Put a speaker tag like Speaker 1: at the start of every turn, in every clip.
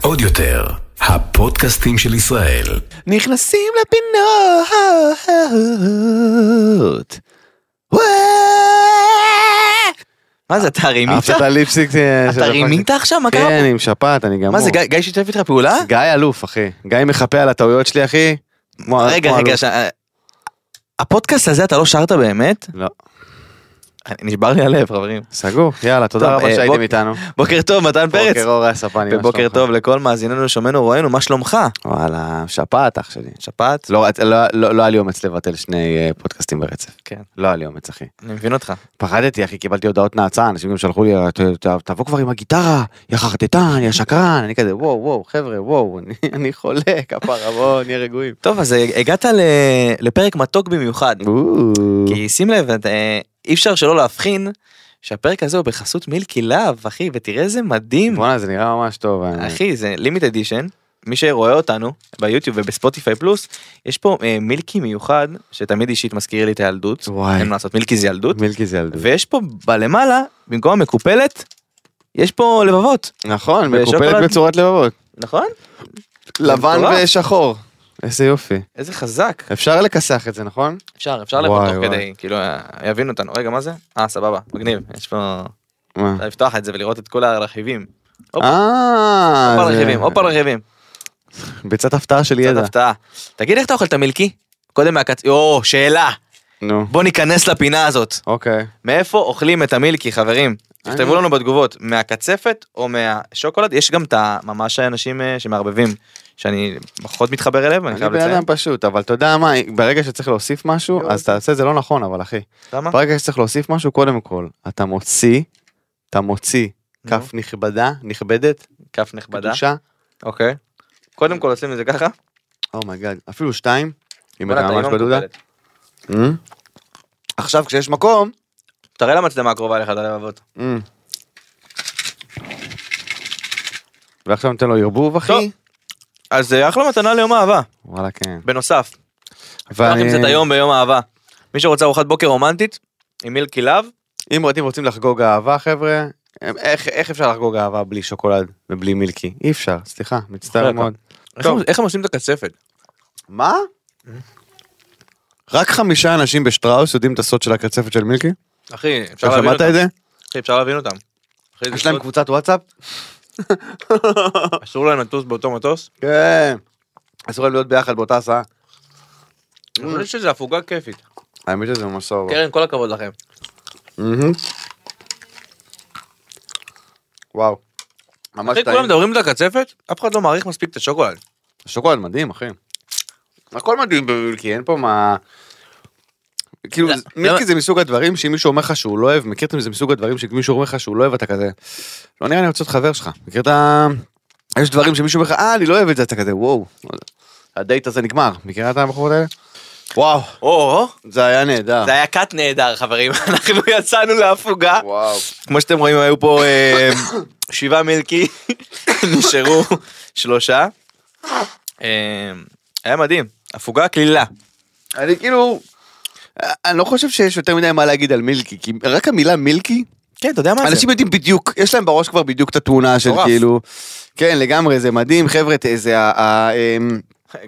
Speaker 1: עוד יותר, הפודקאסטים של ישראל.
Speaker 2: נכנסים לפינות. וואו.
Speaker 3: מה זה, אתה רימית?
Speaker 2: אהבת את הליפסיק של...
Speaker 3: אתה רימית עכשיו? מה קרה
Speaker 2: כן,
Speaker 3: פה?
Speaker 2: עם שפעת, אני גמור.
Speaker 3: מה זה, גיא- אה? גיא שיתף איתך פעולה?
Speaker 2: גיא אלוף, אחי. גיא מחפה על הטעויות שלי, אחי. כמו-
Speaker 3: אה, רגע,
Speaker 2: כמו
Speaker 3: רגע,
Speaker 2: אלוף.
Speaker 3: ש- הפודקאסט הזה אתה לא שרת באמת?
Speaker 2: לא.
Speaker 3: אני- נשבר לי הלב, חברים.
Speaker 2: סגור, יאללה,
Speaker 3: טוב,
Speaker 2: תודה רבה
Speaker 3: אה,
Speaker 2: שהייתם
Speaker 3: בוק-
Speaker 2: איתנו.
Speaker 3: בוקר טוב, מתן פרץ.
Speaker 2: בוקר אור הספני. מה
Speaker 3: ובוקר
Speaker 2: שלומך?
Speaker 3: טוב לכל מאזיננו, שומענו, רואינו, מה שלומך?
Speaker 2: וואלה, שפעת אח שלי.
Speaker 3: שפעת?
Speaker 2: לא, רצ- לא- לא לא היה לי אומץ לבטל שני אה, פודקאסטים ברצף.
Speaker 3: כן.
Speaker 2: לא היה לי אומץ, אחי.
Speaker 3: אני מבין אותך.
Speaker 2: פחדתי, אחי, קיבלתי הודעות נאצה, אנשים גם שלחו לי, "ת- ת- תבוא כבר עם הגיטרה, יא חרטטן, יא שקרן, אני כזה, וואו, וואו, חבר'ה, וואו, אני- אני חולה, כפרה, בואו, נהיה רגועים.
Speaker 3: טוב, אז אה, הגעת ל- לפרק מתוק במיוחד.
Speaker 2: לא.
Speaker 3: כי שים לב, אתה- אה, אי אפשר שלא להבחין שהפרק הזה הוא בחסות מילקי לאב, אחי, ותראה איזה מדהים.
Speaker 2: בואנה, זה נראה ממש טוב. אה, האמת.
Speaker 3: אחי, זה לימיט אדישן. מי שרואה אותנו ביוטיוב ובספוטיפיי פלוס, יש פה אה, מילקי מיוחד, שתמיד אישית מזכיר לי את הילדות.
Speaker 2: וואי.
Speaker 3: אין מה לעשות, מילקי זה ילדות.
Speaker 2: מילקי זה ילדות.
Speaker 3: ויש פה בלמעלה, במקום המקופלת, יש פה לבבות,
Speaker 2: נכון,
Speaker 3: ושוקולד.
Speaker 2: מקופלת בצורת לבבות.
Speaker 3: נכון?
Speaker 2: לבן
Speaker 3: מטורף.
Speaker 2: ושחור. איזה יופי.
Speaker 3: איזה חזק.
Speaker 2: אפשר לכסח את זה, נכון?
Speaker 3: אפשר, אפשר לבוא
Speaker 2: וואי,
Speaker 3: תוך
Speaker 2: וואי.
Speaker 3: כדי, כאילו, אה, יבינו אותנו. רגע, מה זה? אה, סבבה, מגניב. יש פה...
Speaker 2: מה?
Speaker 3: אפשר לפתוח את זה ולראות את כל הרכיבים. הופה,
Speaker 2: אה,
Speaker 3: הופה
Speaker 2: זה-
Speaker 3: רכיבים, הופה רכיבים.
Speaker 2: ביצת הפתעה של
Speaker 3: קצת
Speaker 2: ידע.
Speaker 3: הפתעה. תגיד, איך אתה אוכל את המילקי? קודם מהקצ... או, שאלה.
Speaker 2: נו,
Speaker 3: בוא ניכנס לפינה הזאת.
Speaker 2: אוקיי.
Speaker 3: מאיפה אוכלים את המילקי, חברים? תכתבו
Speaker 2: אה.
Speaker 3: לנו בתגובות, מהקצפת או מהשוקולד? יש גם את ממש האנשים אה, שמערבבים, שאני פחות מתחבר אליהם, אני
Speaker 2: אני
Speaker 3: חייב
Speaker 2: בן
Speaker 3: לציין.
Speaker 2: אדם פשוט, אבל אתה יודע מה, ברגע שצריך להוסיף משהו, אז תעשה זה לא נכון, אבל אחי.
Speaker 3: למה?
Speaker 2: ברגע שצריך להוסיף משהו, קודם כל, אתה מוציא, אתה מוציא
Speaker 3: נו.
Speaker 2: כף נכבדה, נכבדת,
Speaker 3: כף נכבדה.
Speaker 2: קדושה,
Speaker 3: אוקיי. קודם כל עושים את זה ככה.
Speaker 2: אומייגאד, Oh אפילו שתיים, אם
Speaker 3: בוא'נה,
Speaker 2: אתה
Speaker 3: אתה
Speaker 2: ממש
Speaker 3: לא
Speaker 2: בדודה.
Speaker 3: מקופלת.
Speaker 2: אמ? עכשיו כשיש מקום,
Speaker 3: תראה למצלמה הקרובה לך את הלבבות.
Speaker 2: אמ. ועכשיו נותן לו ערבוב אחי,
Speaker 3: טוב. אז אה, אחלה מתנה ליום אהבה.
Speaker 2: וואלה כן.
Speaker 3: בנוסף, אנחנו נמצאת היום ביום אהבה. מי שרוצה ארוחת בוקר רומנטית, עם מילקי לאב,
Speaker 2: אם אתם רוצים לחגוג אהבה חבר'ה, איך איך אפשר לחגוג אהבה בלי שוקולד ובלי מילקי? אי אפשר, סליחה, מצטער
Speaker 3: אוכל
Speaker 2: מאוד.
Speaker 3: איך
Speaker 2: טוב.
Speaker 3: הם- איך הם עושים את הקצפת?
Speaker 2: מה? רק חמישה אנשים בשטראוס יודעים את הסוד של הקצפת של מילקי?
Speaker 3: אחי, אפשר
Speaker 2: אתה
Speaker 3: להבין
Speaker 2: שמעת
Speaker 3: אותם.
Speaker 2: את זה?
Speaker 3: אחי, אפשר להבין אותם. אחי, זה
Speaker 2: יש להם
Speaker 3: סוד.
Speaker 2: קבוצת וואטסאפ?
Speaker 3: אסור להם לטוס באותו מטוס?
Speaker 2: כן. אסור להם להיות ביחד באותה הסעה. אה.
Speaker 3: אני חושב שזו הפוגה כיפית.
Speaker 2: האמת שזה ממש סבבה.
Speaker 3: קרן, כל הכבוד לכם.
Speaker 2: מהמם. וואו. ממש
Speaker 3: אחי, כולם
Speaker 2: טעים.
Speaker 3: מדברים על הקצפת, אף אחד לא מעריך מספיק את השוקולד.
Speaker 2: שוקולד מדהים אחי. הכל מדהים במילקי אין פה מה. כאילו
Speaker 3: לא,
Speaker 2: זה-
Speaker 3: לא-
Speaker 2: מילקי זה מסוג הדברים שאם מישהו אומר לך שהוא לא אוהב מכיר אתם זה מסוג הדברים שמישהו אומר לך שהוא לא אוהב אתה כזה. לא נראה לי רוצה להיות חבר שלך מכיר את ה... יש דברים שמישהו אומר לך אה אני לא אוהב את זה אתה כזה וואו. הדייט הזה נגמר מכירה את הבחורות האלה? וואו
Speaker 3: או,
Speaker 2: זה היה נהדר.
Speaker 3: זה היה כת נהדר, חברים. אנחנו יצאנו להפוגה.
Speaker 2: וואו.
Speaker 3: כמו שאתם רואים, היו פה אה, שבעה מילקי, נשארו שלושה. אה, היה מדהים. הפוגה קלילה.
Speaker 2: אני כאילו. אני לא חושב שיש יותר מדי מה להגיד על מילקי כי רק המילה מילקי
Speaker 3: כן, אתה יודע מה
Speaker 2: אנשים יודעים בדיוק, יש להם בראש כבר בדיוק את התמונה של
Speaker 3: מטורף.
Speaker 2: כאילו, כן לגמרי זה מדהים חבר'ה ת- זה ה- ה- אמ,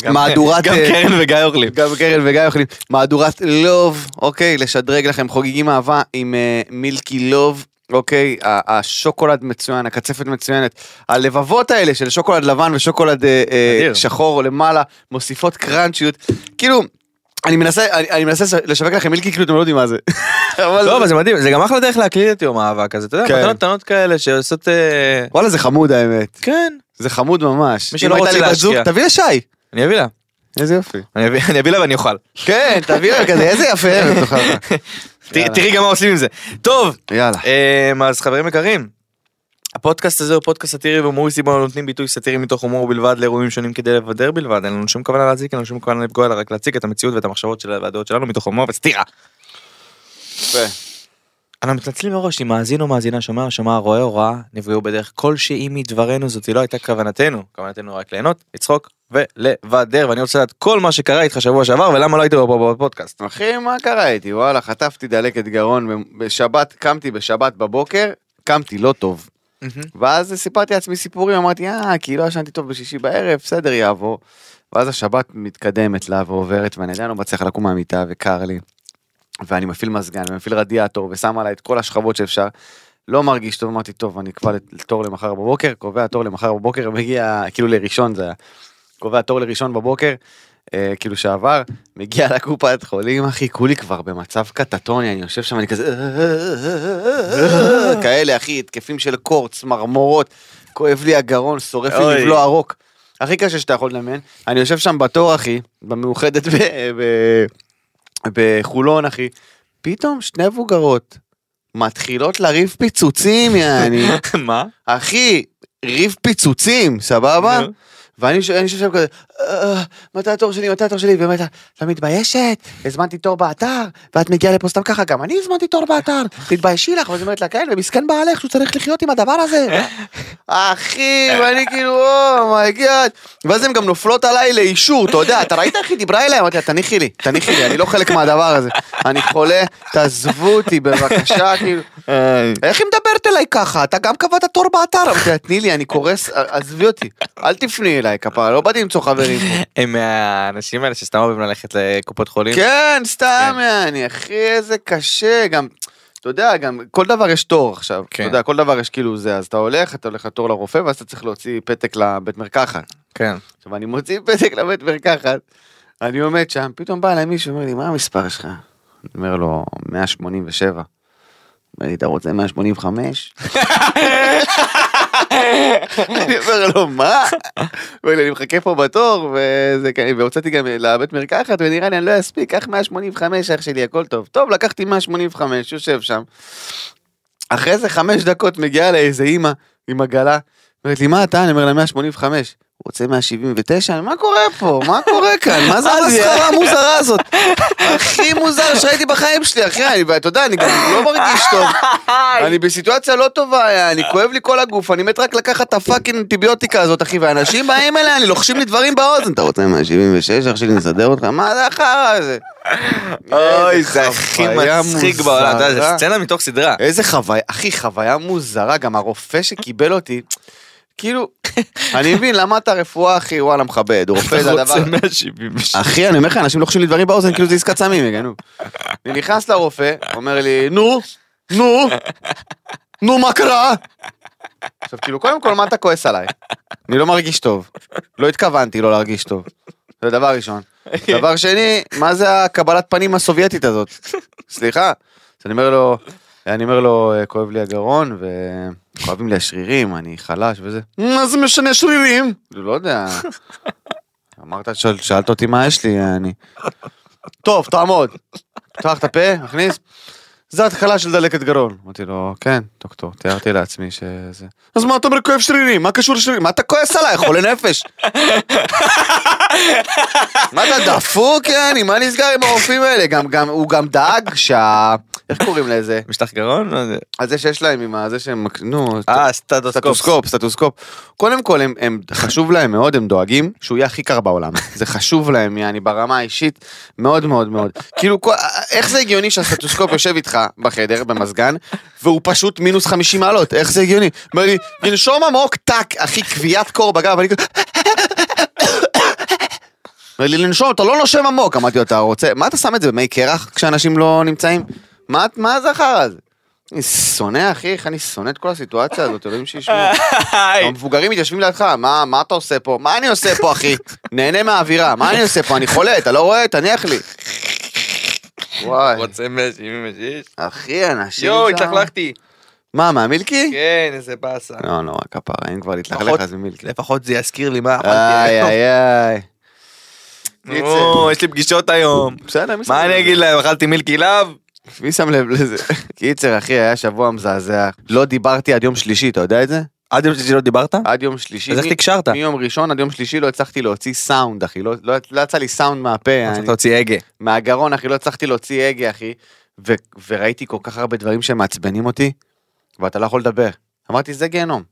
Speaker 3: גם-
Speaker 2: מהדורת,
Speaker 3: גם
Speaker 2: אה,
Speaker 3: קרן וגיא אוכלים.
Speaker 2: גם קרן וגיא אוכלים, מהדורת לוב, אוקיי, לשדרג לכם חוגגים אהבה עם אה, מילקי לוב, אוקיי, ה- השוקולד מצוין, הקצפת מצוינת, הלבבות האלה של שוקולד לבן ושוקולד אה, אה,
Speaker 3: אדיר.
Speaker 2: שחור למעלה, מוסיפות קראנצ'יות, כאילו, אני מנסה, אני, אני מנסה לשווק לכם מילקי כאילו אתם לא יודעים מה זה. אבל-
Speaker 3: לא, אבל זה מדהים, זה גם אחלה דרך להקליט את יום האהבה כזה, אתה יודע,
Speaker 2: כן.
Speaker 3: מתנות קטנות כאלה שעושות... אה,
Speaker 2: וואלה זה חמוד האמת,
Speaker 3: כן,
Speaker 2: זה חמוד ממש.
Speaker 3: מי שלא
Speaker 2: אם הייתה
Speaker 3: רוצה
Speaker 2: לי בת זוג,
Speaker 3: להשקיע.
Speaker 2: תביא לשי.
Speaker 3: אני אביא לה.
Speaker 2: איזה יופי.
Speaker 3: אני אביא- אני אביא לה ואני אוכל.
Speaker 2: כן, תביא לה כזה, איזה יפה ערב תאכל לך.
Speaker 3: תראי- תראי גם מה עושים עם זה. טוב,
Speaker 2: יאללה.
Speaker 3: אמ, אז חברים יקרים, הפודקאסט הזה הוא פודקאסט סאטירי והומוריסטי בו אנו נותנים ביטוי סאטירי מתוך הומור בלבד לאירועים שונים כדי לבדר בלבד, אין לנו שום כוונה להזיק, אין לנו שום כוונה לפגוע, אלא רק להציג את המציאות ואת המחשבות של והדעות שלנו מתוך הומור וסטירה. אנחנו מתנצלים מראש אם מאזין או מאזינה שומע או שומע רואה או ראה נפגעו בדרך כלשהי מדברנו זאת לא הייתה כוונתנו כוונתנו רק ליהנות לצחוק ולבדר ואני רוצה לדעת כל מה שקרה איתך שבוע שעבר ולמה לא היית פה בפודקאסט.
Speaker 2: אחי, מה קרה איתי? וואלה, חטפתי דלקת גרון. ב- בשבת, קמתי בשבת בבוקר, קמתי לא טוב. ואז סיפרתי לעצמי סיפורים, אמרתי, אה, כי לא ישנתי טוב בשישי בערב, בסדר, יעבור. ואז השבת מתקדמת לה ועוברת, ואני עדיין לא מצליח לקום מהמיטה, וקר לי. ואני מפעיל מזגן, ומפעיל רדיאטור, ושם עליי את כל השכבות שאפשר. לא מרגיש טוב, אמרתי, טוב, אני אקבע תור למחר בבוקר, קובע תור למחר בבוקר, מגיע, כאילו לראשון זה היה. קובע תור לראשון בבוקר, אה, כאילו שעבר, מגיע לקופת חולים, אחי, כולי כבר במצב קטטוני, אני יושב שם, אני כזה... כאלה, אחי, התקפים של קור, צמרמורות, כואב לי הגרון, שורף
Speaker 3: אוי.
Speaker 2: לי לבלוע רוק. הכי קשה שאתה יכול לדמיין, אני יושב שם בתור, אחי, במאוחדת ב... ב... בחולון, אחי, פתאום שני מבוגרות מתחילות לריב פיצוצים, יעני.
Speaker 3: מה?
Speaker 2: אחי, ריב פיצוצים, סבבה?
Speaker 3: נו.
Speaker 2: ואני ש- אני יושב שם כזה, "אה, מתי התור שלי, מתי התור שלי, באמת, את לא מתביישת, הזמנתי תור באתר, ואת מגיעה לפה סתם ככה, גם אני הזמנתי תור באתר, תתביישי לך, ואז היא אומרת לה, כן, ומסכן בעלך, שהוא צריך לחיות עם הדבר הזה. אחי, ואני כאילו, אומייגאד, ואז הן גם נופלות עליי לאישור, אתה יודע, אתה ראית איך היא דיברה אליי? אמרתי לה, תניחי לי, תניחי לי, אני לא חלק מהדבר הזה, אני חולה, תעזבו אותי בבקשה, כאילו. איך היא מדברת אליי ככה? אתה גם קבעת תור באתר. אמרתי לה, תני לי, אני קורס, אה, עזבי אותי. אל תפני אליי כפרה, לא באתי למצוא חברים פה.
Speaker 3: הם מהאנשים האלה שסתם אוהבים ללכת לקופות חולים.
Speaker 2: כן, סתם, אני, אחי, איזה קשה, גם... אתה יודע, גם כל דבר יש תור עכשיו,
Speaker 3: כן.
Speaker 2: אתה יודע, כל דבר יש כאילו זה, אז אתה הולך, אתה הולך לתור לרופא, ואז אתה צריך להוציא פתק לבית מרקחת.
Speaker 3: כן.
Speaker 2: עכשיו, אני מוציא פתק לבית מרקחת, אני עומד שם, פתאום בא אליי מישהו, אומר לי, מה המספר שלך? אני אומר לו, 187. אומר לי, אתה רוצה 185? אני אומר לו, מה? אומר לי, אני מחכה פה בתור, וזה כאן, והוצאתי גם לבית מרקחת, ונראה לי, אני לא אספיק, קח 185, אח שלי, הכל טוב. טוב, לקחתי 185, יושב שם. אחרי זה חמש דקות מגיעה אליי איזה אימא עם עגלה, אומרת לי, מה אתה? אני אומר לה, 185. הוא רוצה 179? מה קורה פה? מה קורה כאן? מה זה המסחרה המוזרה הזאת? הכי מוזר שראיתי בחיים שלי, אחי, אני- ואתה יודע, אני גם לא מרגיש טוב. אני בסיטואציה לא טובה, אני כואב לי כל הגוף, אני מת רק לקחת את הפאקינג אנטיביוטיקה הזאת, אחי, ואנשים באים אליי, אני לוחשים לי דברים באוזן. אתה רוצה 176, אח שלי, נסדר אותך? מה זה החרא הזה?
Speaker 3: אוי,
Speaker 2: איזה
Speaker 3: זה הכי
Speaker 2: חוויה
Speaker 3: מצחיק בעולם, אתה יודע, זה
Speaker 2: מוזרה.
Speaker 3: סצנה מתוך סדרה.
Speaker 2: איזה חוויה, אחי, חוויה מוזרה, גם הרופא שקיבל אותי, כאילו, אני מבין, למה אתה רפואה, אחי, וואלה, מכבד, רופא זה הדבר...
Speaker 3: 176.
Speaker 2: אחי, אני אומר לך, אנשים לוחשים לי דברים באוזן, כאילו זה עסקת סמים, יגנו. אני נכנס לרופא, אומר לי, נו, נו, נו, מה קרה? עכשיו, כאילו, קודם כל, מה אתה כועס עליי? אני לא מרגיש טוב. לא התכוונתי לא להרגיש טוב. זה דבר ראשון. דבר שני, מה זה הקבלת פנים הסובייטית הזאת? סליחה. אז אני אומר לו, אני אומר לו, "אה, כואב לי הגרון, וכואבים לי השרירים, אני חלש וזה. מה זה משנה שרירים? לא יודע. אמרת, שאל, שאלת אותי מה יש לי, אני... טוב, תעמוד. פתח את הפה, הכניס. זה התחלה של דלקת גרון. אמרתי לו, כן, דוקטור, תיארתי לעצמי שזה... אז מה אתה אומר כואב שרירים? מה קשור לשרירים? מה אתה כועס עליי, חולה נפש? מה אתה דפוק, יעני? מה נסגר עם הרופאים האלה? גם, גם, הוא גם דאג שה... איך קוראים לזה?
Speaker 3: משטח גרון? לא,
Speaker 2: על זה שיש להם עם ה... זה שהם... נו,
Speaker 3: אה, סטטוסקופ.
Speaker 2: סטטוסקופ, סטטוסקופ. קודם כל, הם, הם, חשוב להם מאוד, הם דואגים שהוא יהיה הכי קר בעולם. זה חשוב להם, יעני, ברמה האישית, מאוד מאוד מאוד. כאילו, כל, איך זה הגיוני שהסטטוסקופ יושב איתך בחדר, במזגן, והוא פשוט מינוס 50 מעלות? איך זה הגיוני? אומר לי, לנשום עמוק, טאק, אחי, כוויית קור בגב, אני כזה... אומר לי, לנשום, אתה לא נושם עמוק. אמרתי לו, אתה רוצה... מה אתה שם את זה במי קרח כשאנשים לא נמצאים? מה, מה זה החרא הזה? אני שונא, אחי, איך אני שונא את כל הסיטואציה הזאת, אלוהים שישמעו. המבוגרים מתיישבים לידך, מה, מה אתה עושה פה? מה אני עושה פה, אחי? נהנה מהאווירה, מה אני עושה פה? אני חולה, אתה לא רואה? תניח לי. וואי,
Speaker 3: רוצה 176?
Speaker 2: אחי, אנשים
Speaker 3: יואו,
Speaker 2: שם.
Speaker 3: התלכלכתי.
Speaker 2: מה, מהמילקי?
Speaker 3: כן, איזה באסה.
Speaker 2: לא, לא, כפרה, אם כבר
Speaker 3: פחות-
Speaker 2: להתלכלך אז ממילקי.
Speaker 3: לפחות זה יזכיר לי מה
Speaker 2: איי, איי, איי.
Speaker 3: נו, יש לי פגישות היום.
Speaker 2: בסדר, מי שם
Speaker 3: מה
Speaker 2: לב
Speaker 3: אני
Speaker 2: לזה?
Speaker 3: אגיד להם, אכלתי מילקי לאב?
Speaker 2: מי שם לב לזה? קיצר, אחי, היה שבוע מזעזע. לא דיברתי עד יום שלישי, אתה יודע את זה?
Speaker 3: עד יום שלישי לא דיברת?
Speaker 2: עד יום שלישי.
Speaker 3: אז איך
Speaker 2: מי-
Speaker 3: תקשרת?
Speaker 2: מיום ראשון עד יום שלישי לא הצלחתי להוציא סאונד, אחי. לא- לא לא יצא לי סאונד מהפה.
Speaker 3: אתה
Speaker 2: אני-
Speaker 3: תוציא הגה.
Speaker 2: מהגרון, אחי, לא הצלחתי להוציא הגה, אחי. ו- וראיתי כל כך הרבה דברים שמעצבנים אותי, ואתה לא יכול לדבר. אמרתי, זה גיהנום.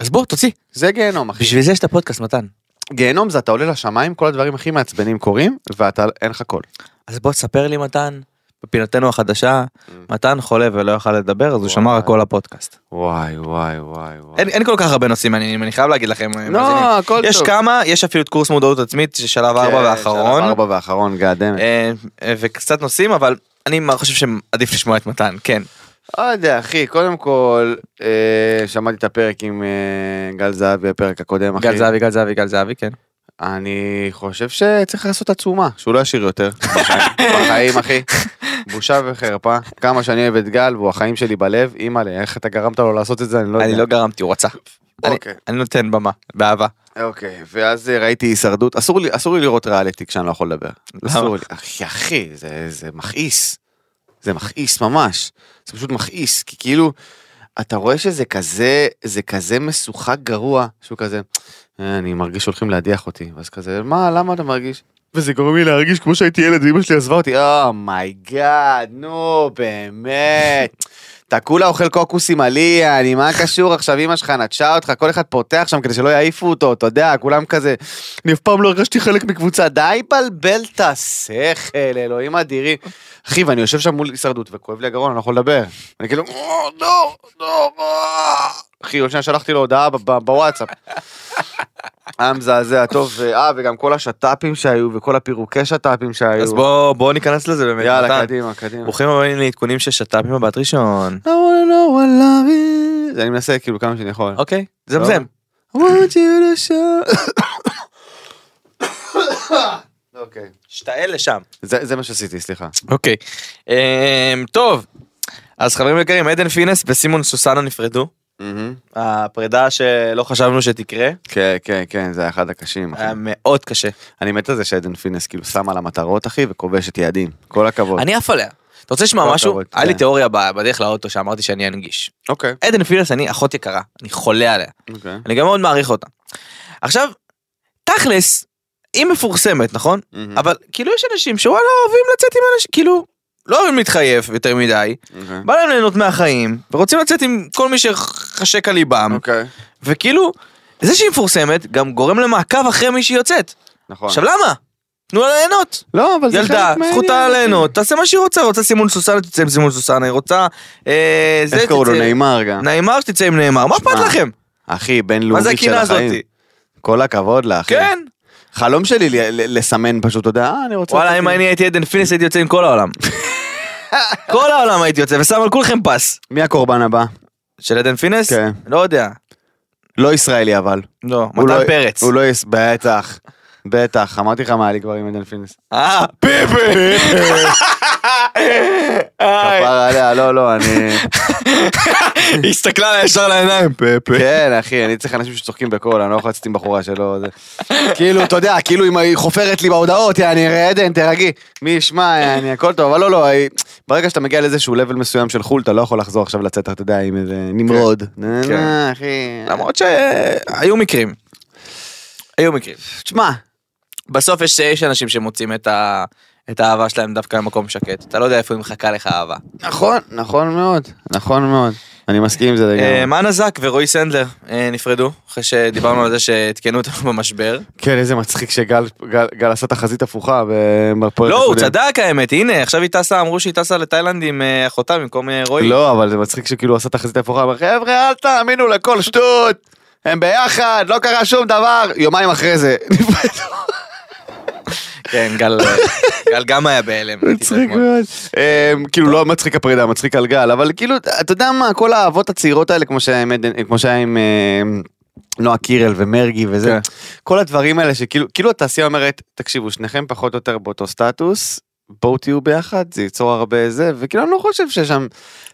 Speaker 3: אז בוא, תוציא.
Speaker 2: זה גיהנום, אחי.
Speaker 3: בשביל זה יש את הפודקאסט, מתן.
Speaker 2: גיהנום זה אתה עולה לשמיים, כל הדברים הכי מעצבנים קורים, ואתה, אין לך קול.
Speaker 3: אז בוא, תספר לי, מתן, בפינתנו החדשה, מתן חולה ולא יכל לדבר, אז הוא
Speaker 2: וואי.
Speaker 3: שמר הכל לפודקאסט.
Speaker 2: וואי וואי וואי וואי.
Speaker 3: אין, אין כל כך הרבה נושאים מעניינים, אני חייב להגיד לכם. אה, מאזינים.
Speaker 2: לא, הכל
Speaker 3: יש
Speaker 2: טוב.
Speaker 3: כמה, יש אפילו את קורס מודעות עצמית, ששלב
Speaker 2: כן,
Speaker 3: ארבע
Speaker 2: שלב
Speaker 3: ואחרון,
Speaker 2: ארבע ואחרון, גאדמת.
Speaker 3: אה, אה, וקצת נושאים, אבל אני חושב שעדיף לשמוע את מתן, כן.
Speaker 2: לא יודע, אחי, קודם כל, אה, שמעתי את הפרק עם אה, גל זהבי, הפרק הקודם, אחי.
Speaker 3: גל זהבי, גל זהבי, גל זהבי, כן.
Speaker 2: אני חושב שצריך לעשות עצומה, שהוא לא ישיר יותר. בחיים, בחיים, אחי. בושה וחרפה. כמה שאני אוהב את גל, והוא החיים שלי בלב. אימא'לה, איך אתה גרמת לו לעשות את זה? אני לא
Speaker 3: אני
Speaker 2: יודע.
Speaker 3: לא גרמתי, הוא רצה. אני-
Speaker 2: אוקיי.
Speaker 3: אני נותן במה, באהבה.
Speaker 2: אוקיי, ואז אה, ראיתי הישרדות, אסור לי, אסור לי לראות ריאליטי כשאני לא יכול לדבר.
Speaker 3: למה?
Speaker 2: אסור לי. אחי, אחי, זה, זה מכעיס. זה מכעיס ממש. זה פשוט מכעיס, כי כאילו, אתה רואה שזה כזה, זה כזה משוחק גרוע, שהוא כזה, "אה, אני מרגיש שהולכים להדיח אותי, ואז כזה, מה, למה אתה מרגיש? וזה גורם לי להרגיש כמו שהייתי ילד ואימא שלי עזבה אותי, אומייגאד, נו, באמת. אתה כולה אוכל קוקוסים עליה, אני מה קשור עכשיו, אמא שלך נטשה אותך, כל אחד פותח שם כדי שלא יעיפו אותו, אתה יודע, כולם כזה, אני אף פעם לא הרגשתי חלק מקבוצה, די בלבל את השכל, אלוהים אדירים. אחי, ואני יושב שם מול הישרדות, וכואב לי הגרון, אני לא יכול לדבר. אני כאילו, "אה, לא, לא, אה." אחי, עוד שניה שלחתי לו הודעה ב- ב- בוואטסאפ. היה מזעזע, טוב, אה, וגם כל השת"פים שהיו, וכל הפירוקי שת"פים שהיו.
Speaker 3: אז בוא בוא ניכנס לזה באמת. מתן.
Speaker 2: יאללה, קדימה, קדימה.
Speaker 3: ברוכים הבאים לעדכונים של שת"פ עם הבת ראשון.
Speaker 2: I wanna know what love is. אני מנסה כאילו כמה שאני יכול.
Speaker 3: אוקיי, זמזם.
Speaker 2: I want you to show. אוקיי.
Speaker 3: שתעל לשם.
Speaker 2: זה זה מה שעשיתי, סליחה.
Speaker 3: אוקיי. אמ, טוב, אז חברים יקרים, עדן פינס וסימון סוסנה נפרדו. הפרידה שלא חשבנו שתקרה,
Speaker 2: כן, כן, כן, זה היה אחד הקשים. אחי.
Speaker 3: היה מאוד קשה.
Speaker 2: אני מת על זה שעדן פינס כאילו שם על המטרות, אחי, וכובשת יעדים. כל הכבוד.
Speaker 3: אני עף עליה. אתה רוצה לשמוע
Speaker 2: כל
Speaker 3: משהו?
Speaker 2: הכבוד,
Speaker 3: היה לי
Speaker 2: כן.
Speaker 3: תיאוריה ב- בדרך לאוטו שאמרתי שאני אנגיש.
Speaker 2: אוקיי.
Speaker 3: עדן פינס, אני אחות יקרה, אני חולה עליה.
Speaker 2: אוקיי.
Speaker 3: אני גם מאוד מעריך אותה. עכשיו, תכלס, היא מפורסמת, נכון?
Speaker 2: מהמם.
Speaker 3: אבל כאילו יש אנשים שוואלה אוהבים לצאת עם אנשים, כאילו, לא אוהבים להתחייב יותר מדי,
Speaker 2: אוקיי.
Speaker 3: בא להם ליהנות מהחיים, ורוצים לצאת עם כל מי שחשק על ליבם,
Speaker 2: אוקיי.
Speaker 3: וכאילו, זה שהיא מפורסמת גם גורם למעקב אחרי מי שהיא יוצאת.
Speaker 2: נכון.
Speaker 3: עכשיו למה? תנו לה ליהנות.
Speaker 2: לא, אבל זה
Speaker 3: ילדה,
Speaker 2: חלק מהעניין,
Speaker 3: זכותה
Speaker 2: אחי.
Speaker 3: ליהנות, תעשה מה שהיא רוצה, רוצה סימון סוסנה, תצא עם סימון סוסנה, היא רוצה... אה, זה,
Speaker 2: איך קראו לו?
Speaker 3: תצא-
Speaker 2: נאמר גם.
Speaker 3: נעימר שתצא עם נאמר, מה
Speaker 2: שמע,
Speaker 3: אכפת לכם?
Speaker 2: אחי,
Speaker 3: מה
Speaker 2: בינלאומית
Speaker 3: זה
Speaker 2: של החיים.
Speaker 3: הקינה הזאתי?
Speaker 2: כל הכבוד לה, אחי.
Speaker 3: כן,
Speaker 2: חלום שלי ל- ל- לסמן פשוט, אתה יודע, אה, אני רוצה...
Speaker 3: וואלה
Speaker 2: לצאת
Speaker 3: אם
Speaker 2: עם-
Speaker 3: אני הייתי עדן פינס הייתי יוצא עם כל העולם. כל העולם הייתי יוצא ושם על כולכם פס.
Speaker 2: מי הקורבן הבא?
Speaker 3: של עדן פינס?
Speaker 2: כן.
Speaker 3: לא יודע.
Speaker 2: לא ישראלי אבל.
Speaker 3: לא,
Speaker 2: הוא
Speaker 3: מתן
Speaker 2: לא-
Speaker 3: פרץ.
Speaker 2: הוא לא יש... בטח. בטח, אמרתי לך מה היה לי כבר עם עדן פינס.
Speaker 3: אה, פיפי!
Speaker 2: כפר עליה, לא, לא, אני...
Speaker 3: היא הסתכלה לה ישר לעיניים, פיפי.
Speaker 2: כן, אחי, אני צריך אנשים שצוחקים בקול, אני לא יכול לצאת עם בחורה שלא... זה. כאילו, אתה יודע, כאילו אם היא חופרת לי בהודעות, יעני, עדן, תרגי. מי ישמע, יעני, הכל טוב, אבל לא, לא, היא- ברגע שאתה מגיע לאיזשהו לבל מסוים של חו"ל, אתה לא יכול לחזור עכשיו לצאת, אתה יודע, עם איזה נמרוד. נה,
Speaker 3: כן.
Speaker 2: נה, אחי.
Speaker 3: למרות שהיו מקרים. היו מקרים.
Speaker 2: תשמע,
Speaker 3: בסוף יש יש אנשים שמוצאים את ה- את האהבה שלהם דווקא במקום שקט. אתה לא יודע איפה היא מחכה לך אהבה.
Speaker 2: נכון, נכון מאוד, נכון מאוד. אני מסכים עם זה
Speaker 3: אה,
Speaker 2: לגמרי.
Speaker 3: מאנה זק ורועי סנדלר אה, נפרדו, אחרי שדיברנו על זה שעדכנו אותנו במשבר.
Speaker 2: כן, איזה מצחיק שגל גל- גל עשה תחזית הפוכה ב- בפרק
Speaker 3: לא, הוא
Speaker 2: הקודם.
Speaker 3: צדק האמת, הנה, עכשיו היא טסה, אמרו שהיא טסה לתאילנד עם אה, אחותה במקום אה, רועי.
Speaker 2: לא, אבל זה מצחיק שכאילו הוא עשה תחזית הפוכה, אמר חבר'ה אל תאמינו לכל שטות, הם ביחד, לא קרה שום דבר, יומיים אחרי זה.
Speaker 3: כן, גל, גל גם היה בהלם.
Speaker 2: מצחיק מאוד. אמ, כאילו לא מצחיק הפרידה, מצחיק על גל, אבל כאילו, אתה יודע מה, כל האהבות הצעירות האלה, כמו שהיה עם עדן- כמו שהיה עם... אמ, נועה קירל ומרגי וזה,
Speaker 3: כן.
Speaker 2: כל הדברים האלה שכאילו, כאילו התעשייה אומרת, תקשיבו, שניכם פחות או יותר באותו סטטוס, בואו תהיו ביחד, זה ייצור הרבה זה, וכאילו אני לא חושב ששם,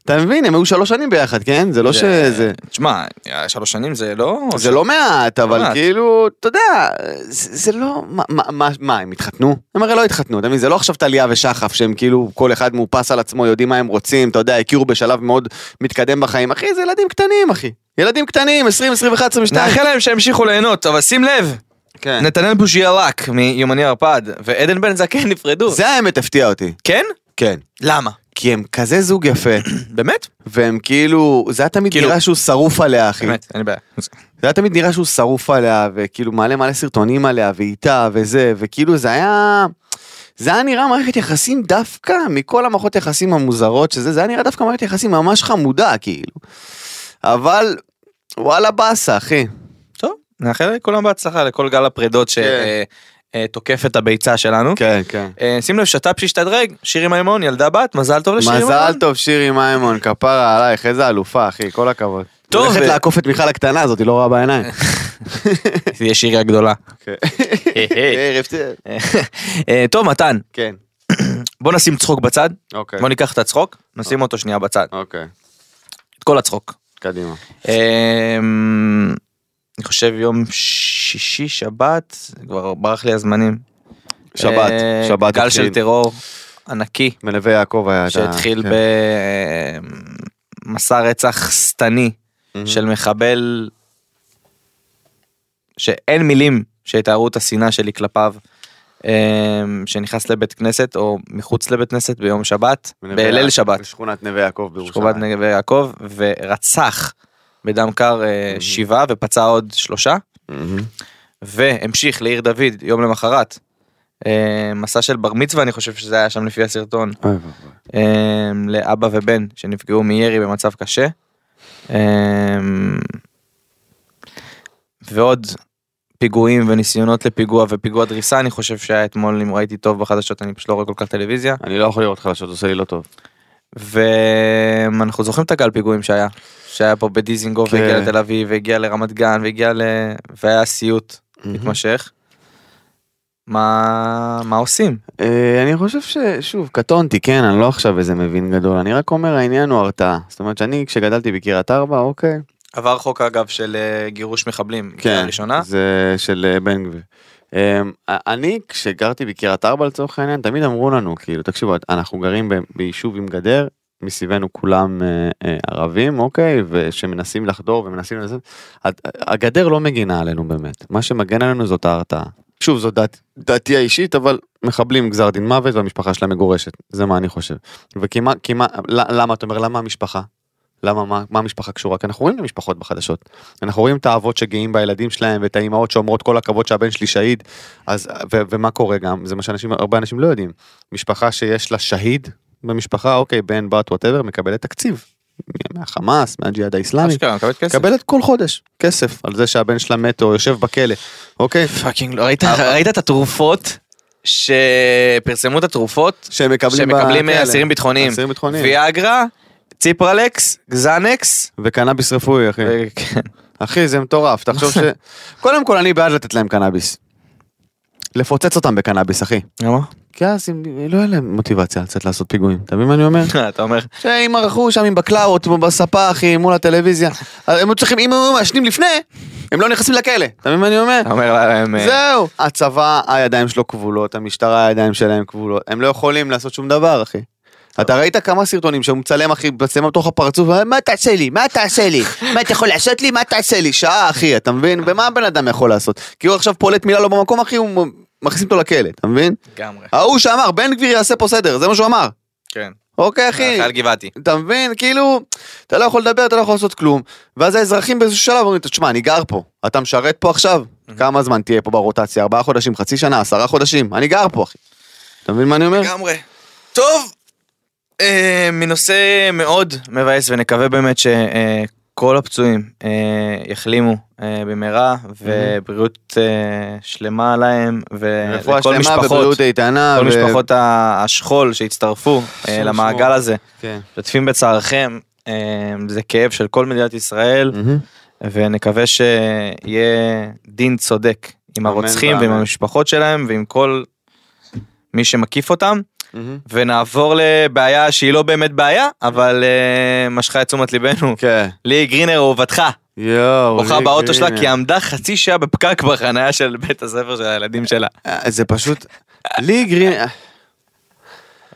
Speaker 2: אתה מבין, הם היו שלוש שנים ביחד, כן? זה לא שזה...
Speaker 3: תשמע, שלוש שנים זה לא...
Speaker 2: זה לא מעט,
Speaker 3: מעט.
Speaker 2: אבל כאילו, אתה יודע, זה זה לא, מה- מה- מה- מה, הם התחתנו? הם הרי לא התחתנו, אתה מבין? זה לא עכשיו טליה ושחף, שהם כאילו, כל אחד מאופס על עצמו, יודעים מה הם רוצים, אתה יודע, הכירו בשלב מאוד מתקדם בחיים. אחי, זה ילדים קטנים, אחי. ילדים קטנים, 20, 21, 22.
Speaker 3: נאחל להם שימשיכו ליהנות, אבל שים לב,
Speaker 2: כן.
Speaker 3: נתנאל בוז'יאלק מיומני ערפד ועדן בן זקן נפרדו.
Speaker 2: זה האמת הפתיע אותי.
Speaker 3: כן?
Speaker 2: כן.
Speaker 3: למה?
Speaker 2: כי הם כזה זוג יפה,
Speaker 3: באמת?
Speaker 2: והם כאילו, זה היה תמיד
Speaker 3: כאילו-
Speaker 2: נראה שהוא שרוף עליה, אחי.
Speaker 3: באמת, אין לי בעיה.
Speaker 2: זה היה תמיד נראה שהוא שרוף עליה, וכאילו מעלה מלא סרטונים עליה, ואיתה, וזה, וכאילו זה היה... זה היה נראה מערכת יחסים דווקא, מכל המערכות יחסים המוזרות שזה, זה היה נראה דווקא מערכת יחסים ממש חמודה, כאילו. אבל, וואלה באסה, אחי.
Speaker 3: טוב, נאחל לכולם בהצלחה לכל גל הפרדות
Speaker 2: כן.
Speaker 3: שתוקף את הביצה שלנו.
Speaker 2: כן, כן.
Speaker 3: אה, שים לב, שת"פ שהשתדרג, שירי מימון, ילדה בת, מזל טוב לשירי מימון.
Speaker 2: מזל טוב שירי מימון, כפרה עלייך, איזה אלופה, אחי, כל הכבוד.
Speaker 3: טוב,
Speaker 2: הולכת
Speaker 3: ו-
Speaker 2: לעקוף את מיכל הקטנה הזאת, היא לא רואה בעיניים. אוקיי.
Speaker 3: תהיה שירי הגדולה.
Speaker 2: ערב טוב.
Speaker 3: אה, טוב, מתן,
Speaker 2: כן,
Speaker 3: בוא נשים צחוק בצד,
Speaker 2: אוקיי.
Speaker 3: בוא ניקח את הצחוק, נשים אותו שנייה בצד,
Speaker 2: אוקיי,
Speaker 3: את כל הצחוק.
Speaker 2: קדימה.
Speaker 3: אה, אני חושב יום שישי, שבת, כבר ברח לי הזמנים.
Speaker 2: שבת,
Speaker 3: אה,
Speaker 2: שבת
Speaker 3: גל
Speaker 2: התחיל.
Speaker 3: של טרור ענקי,
Speaker 2: מנווה יעקב היה... את ה-
Speaker 3: שהתחיל
Speaker 2: כן.
Speaker 3: במסע רצח שטני
Speaker 2: מהמם.
Speaker 3: של מחבל שאין מילים שיתארו את השנאה שלי כלפיו. אמ, שנכנס לבית כנסת או מחוץ לבית כנסת ביום שבת,
Speaker 2: בנווה
Speaker 3: בליל
Speaker 2: יעקב,
Speaker 3: שבת,
Speaker 2: בשכונת נווה יעקב
Speaker 3: שכובת
Speaker 2: בירושלים.
Speaker 3: נגב יעקב, ורצח בדם קר אה,
Speaker 2: מהמם.
Speaker 3: שבעה ופצע עוד שלושה,
Speaker 2: מהמם.
Speaker 3: והמשיך לעיר דוד יום למחרת. אה, מסע של בר מצווה אני חושב שזה היה שם לפי הסרטון,
Speaker 2: אוי ואבוי.
Speaker 3: אה, לאבא ובן שנפגעו מירי במצב קשה. אה, ועוד פיגועים וניסיונות לפיגוע ופיגוע דריסה אני חושב שהיה אתמול אם ראיתי טוב בחדשות אני פשוט לא רואה כל כך טלוויזיה
Speaker 2: אני לא יכול לראות חדשות, עושה לי לא טוב.
Speaker 3: ואנחנו זוכרים את הגל פיגועים שהיה שהיה פה בדיזינגוף
Speaker 2: כן.
Speaker 3: והגיע לתל אביב והגיע לרמת גן והגיע ל... והיה סיוט מתמשך. מה מה עושים?
Speaker 2: אה, אני חושב ששוב קטונתי כן אני לא עכשיו איזה מבין גדול אני רק אומר העניין הוא הרתעה זאת אומרת שאני כשגדלתי בקריית ארבע אוקיי
Speaker 3: עבר חוק אגב של אה, גירוש מחבלים בקריאה ראשונה
Speaker 2: כן, זה של אה, בן גביר. אה, אני כשגרתי בקריית ארבע לצורך העניין תמיד אמרו לנו כאילו תקשיבו אנחנו גרים ב- ביישוב עם גדר מסביבנו כולם אה, אה, ערבים אוקיי ושמנסים לחדור ומנסים לזה הגדר לא מגינה עלינו באמת מה שמגן עלינו זאת ההרתעה. שוב זו דת, דעתי האישית אבל מחבלים גזר דין מוות והמשפחה שלהם מגורשת זה מה אני חושב. וכמעט כמעט ל- למה אתה אומר למה המשפחה. למה מה, מה המשפחה קשורה כי אנחנו רואים את המשפחות בחדשות אנחנו רואים את האבות שגאים בילדים שלהם ואת האימהות שאומרות כל הכבוד שהבן שלי שהיד אז ו, ומה קורה גם זה מה שאנשים הרבה אנשים לא יודעים משפחה שיש לה שהיד במשפחה אוקיי בן בת וואטאבר מקבלת תקציב מהחמאס מהג'יהאד האיסלאמי
Speaker 3: אשכרה מקבלת כסף.
Speaker 2: מקבלת כל חודש כסף על זה שהבן שלה מת או יושב בכלא אוקיי
Speaker 3: פאקינג לא ראית ראית את התרופות שפרסמו את התרופות
Speaker 2: שהם מקבלים
Speaker 3: שמקבלים
Speaker 2: בכלא.
Speaker 3: אה, אסירים ביטחוניים
Speaker 2: אסירים ביטחוניים
Speaker 3: ויאגרה ציפרלקס גזנקס.
Speaker 2: וקנאביס רפואי אחי
Speaker 3: אה, כן.
Speaker 2: אחי זה מטורף תחשוב ש... קודם כל אני בעד לתת להם קנאביס. לפוצץ אותם בקנאביס אחי.
Speaker 3: למה?
Speaker 2: כי אז אם לא יהיה להם מוטיבציה לצאת לעשות פיגועים אתה מבין מה אני אומר?
Speaker 3: אתה אומר
Speaker 2: שהם ערכו שם עם בקלאות בספה אחי מול הטלוויזיה אז הם היו צריכים אם הם היו מעשנים לפני הם לא נכנסים לכלא אתה מבין מה אני אומר?
Speaker 3: אתה אומר להם אה,
Speaker 2: זהו הצבא הידיים שלו כבולות המשטרה הידיים שלהם כבולות הם לא יכולים לעשות שום דבר אחי. אתה ראית כמה סרטונים שהוא מצלם אחי מצלם בתוך הפרצוף "אה, מה תעשה לי מה תעשה לי מה אתה יכול לעשות לי מה תעשה לי שעה אחי אתה מבין ומה הבן אדם יכול לעשות כי הוא עכשיו פולט מילה לא במקום אחי הוא מכניסים אותו לכלא אתה מבין
Speaker 3: לגמרי
Speaker 2: ההוא שאמר בן גביר יעשה פה סדר זה מה שהוא אמר
Speaker 3: כן.
Speaker 2: אוקיי אחי
Speaker 3: חייל גבעתי.
Speaker 2: אתה מבין? כאילו, אתה לא יכול לדבר, אתה לא יכול לעשות כלום. ואז האזרחים באיזשהו שלב אומרים, תשמע, אני גר פה, אתה משרת פה עכשיו?
Speaker 3: Mhm.
Speaker 2: כמה זמן תהיה פה ברוטציה? ארבעה חודשים, חצי שנה, עשרה חודשים? אני גר פה, אחי. אתה מבין מה אני אומר?
Speaker 3: לגמרי. טוב. אה, מנושא מאוד מבאס ונקווה באמת שכל הפצועים אה, יחלימו אה, במהרה ובריאות אה, שלמה להם
Speaker 2: אה, רפואה
Speaker 3: ולכל
Speaker 2: שלמה
Speaker 3: אה, משפחות.
Speaker 2: ובריאות איתנה.
Speaker 3: כל
Speaker 2: ו-
Speaker 3: משפחות ה- השכול שהצטרפו אה, למעגל הזה,
Speaker 2: כן.
Speaker 3: משתתפים בצערכם, אה, זה כאב של כל מדינת ישראל,
Speaker 2: מהמם.
Speaker 3: ונקווה שיהיה דין צודק עם
Speaker 2: אמן
Speaker 3: הרוצחים ועם
Speaker 2: ואמן.
Speaker 3: המשפחות שלהם ועם כל מי שמקיף אותם,
Speaker 2: מהמם.
Speaker 3: ונעבור לבעיה שהיא לא באמת בעיה, אבל אה, משכה את תשומת ליבנו.
Speaker 2: כן.
Speaker 3: ליהי גרינר אהובתך,
Speaker 2: יואו.
Speaker 3: בוכה
Speaker 2: לי
Speaker 3: באוטו שלה
Speaker 2: גרינר.
Speaker 3: כי היא עמדה חצי שעה בפקק בחניה של בית הספר של הילדים שלה.
Speaker 2: אה, זה פשוט... לי גרין...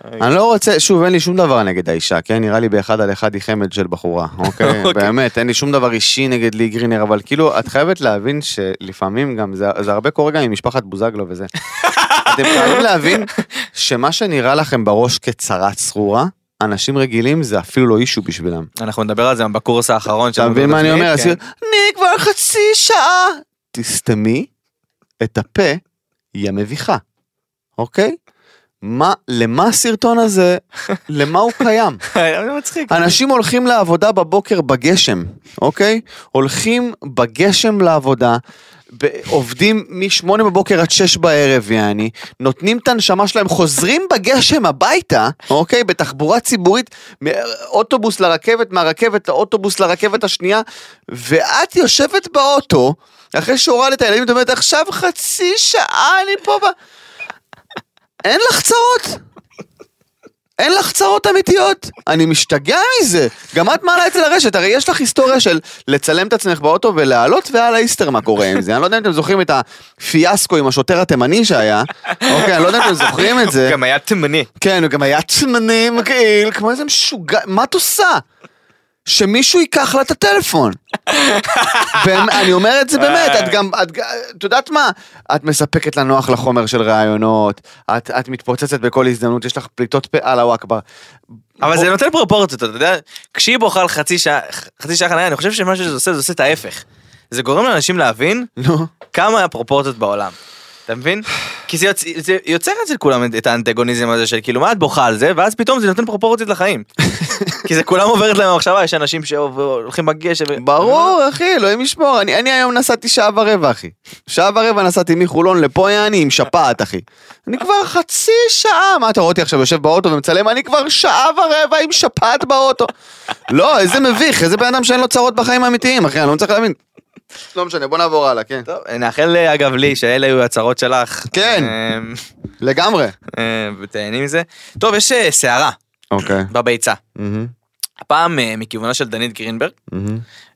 Speaker 2: אני לא רוצה, שוב, אין לי שום דבר נגד האישה, כן? נראה לי באחד על אחד היא חמד של בחורה, אוקיי?
Speaker 3: אוקיי.
Speaker 2: באמת, אין לי שום דבר אישי נגד לי גרינר, אבל כאילו, את חייבת להבין שלפעמים גם, זה, זה הרבה קורה גם עם משפחת בוזגלו וזה. אתם חייבים להבין שמה שנראה לכם בראש כצרה צרורה, אנשים רגילים זה אפילו לא אישו בשבילם.
Speaker 3: אנחנו נדבר על זה גם בקורס האחרון של
Speaker 2: אתה מבין
Speaker 3: מודעות
Speaker 2: מה אני
Speaker 3: עצמית,
Speaker 2: אומר?
Speaker 3: כן.
Speaker 2: אז כאילו, אני כבר חצי שעה. תסתמי את הפה, היא המביכה, אוקיי? מה, למה הסרטון הזה, למה הוא קיים?
Speaker 3: זה מצחיק.
Speaker 2: אנשים הולכים לעבודה בבוקר בגשם, אוקיי? הולכים בגשם לעבודה, ב- עובדים מ-8 בבוקר עד 6 בערב, יעני, נותנים את הנשמה שלהם, חוזרים בגשם הביתה, אוקיי? בתחבורה ציבורית, מאוטובוס לרכבת, מהרכבת לאוטובוס לרכבת השנייה, ואת יושבת באוטו, אחרי שהורדת את הילדים, את אומרת, עכשיו חצי שעה אני פה ב... אין לך צרות? אין לך צרות אמיתיות, אני משתגע מזה. גם את מעלה את זה לרשת, הרי יש לך היסטוריה של לצלם את עצמך באוטו ולהעלות ועל האיסטר מה קורה עם זה. אני לא יודע אם אתם זוכרים את הפיאסקו עם השוטר התימני שהיה, אוקיי, אני לא יודע אם אתם זוכרים את זה.
Speaker 3: גם היה תימני.
Speaker 2: כן, הוא גם היה צמני מגעיל, כמו איזה משוגע, מה את עושה? שמישהו ייקח לה את הטלפון. באמת, אני אומר את זה באמת, את גם, את ג- את יודעת מה? את מספקת לנוח לחומר של ראיונות, את, את מתפוצצת בכל הזדמנות, יש לך פליטות פה, אללה וואכבר.
Speaker 3: אבל זה נותן פרופורציות, אתה יודע, כשהיא בוכה על חצי שעה, חצי שעה חניה, אני חושב שמה שזה עושה, זה עושה את ההפך. זה גורם לאנשים להבין
Speaker 2: נו.
Speaker 3: כמה הפרופורציות בעולם. אתה מבין? כי זה, יוצ... זה יוצר אצל כולם את- את האנטגוניזם הזה של כאילו מה את בוכה על זה ואז פתאום זה נותן פרופורציות לחיים. כי זה כולם עוברת להם המחשבה יש אנשים שהולכים בגשם. ו-
Speaker 2: ברור, אחי, אלוהים ישמור. אני, אני היום נסעתי שעה ורבע, אחי. שעה ורבע נסעתי מחולון לפה, יעני, עם שפעת, אחי. אני כבר חצי שעה, מה אתה רואה אותי עכשיו יושב באוטו ומצלם? אני כבר שעה ורבע עם שפעת באוטו. לא, איזה מביך, איזה בן אדם שאין לו צרות בחיים האמיתיים, אחי, אני לא מצליח להבין. לא משנה, בוא נעבור הלאה, כן.
Speaker 3: טוב, נאחל אה, אגב לי שאלה היו הצרות שלך.
Speaker 2: כן.
Speaker 3: אמ,
Speaker 2: לגמרי.
Speaker 3: אמ, ותהני מזה. טוב יש אה, סערה
Speaker 2: אוקיי.
Speaker 3: בביצה. הפעם אה, מכיוונה של דנית גרינברג.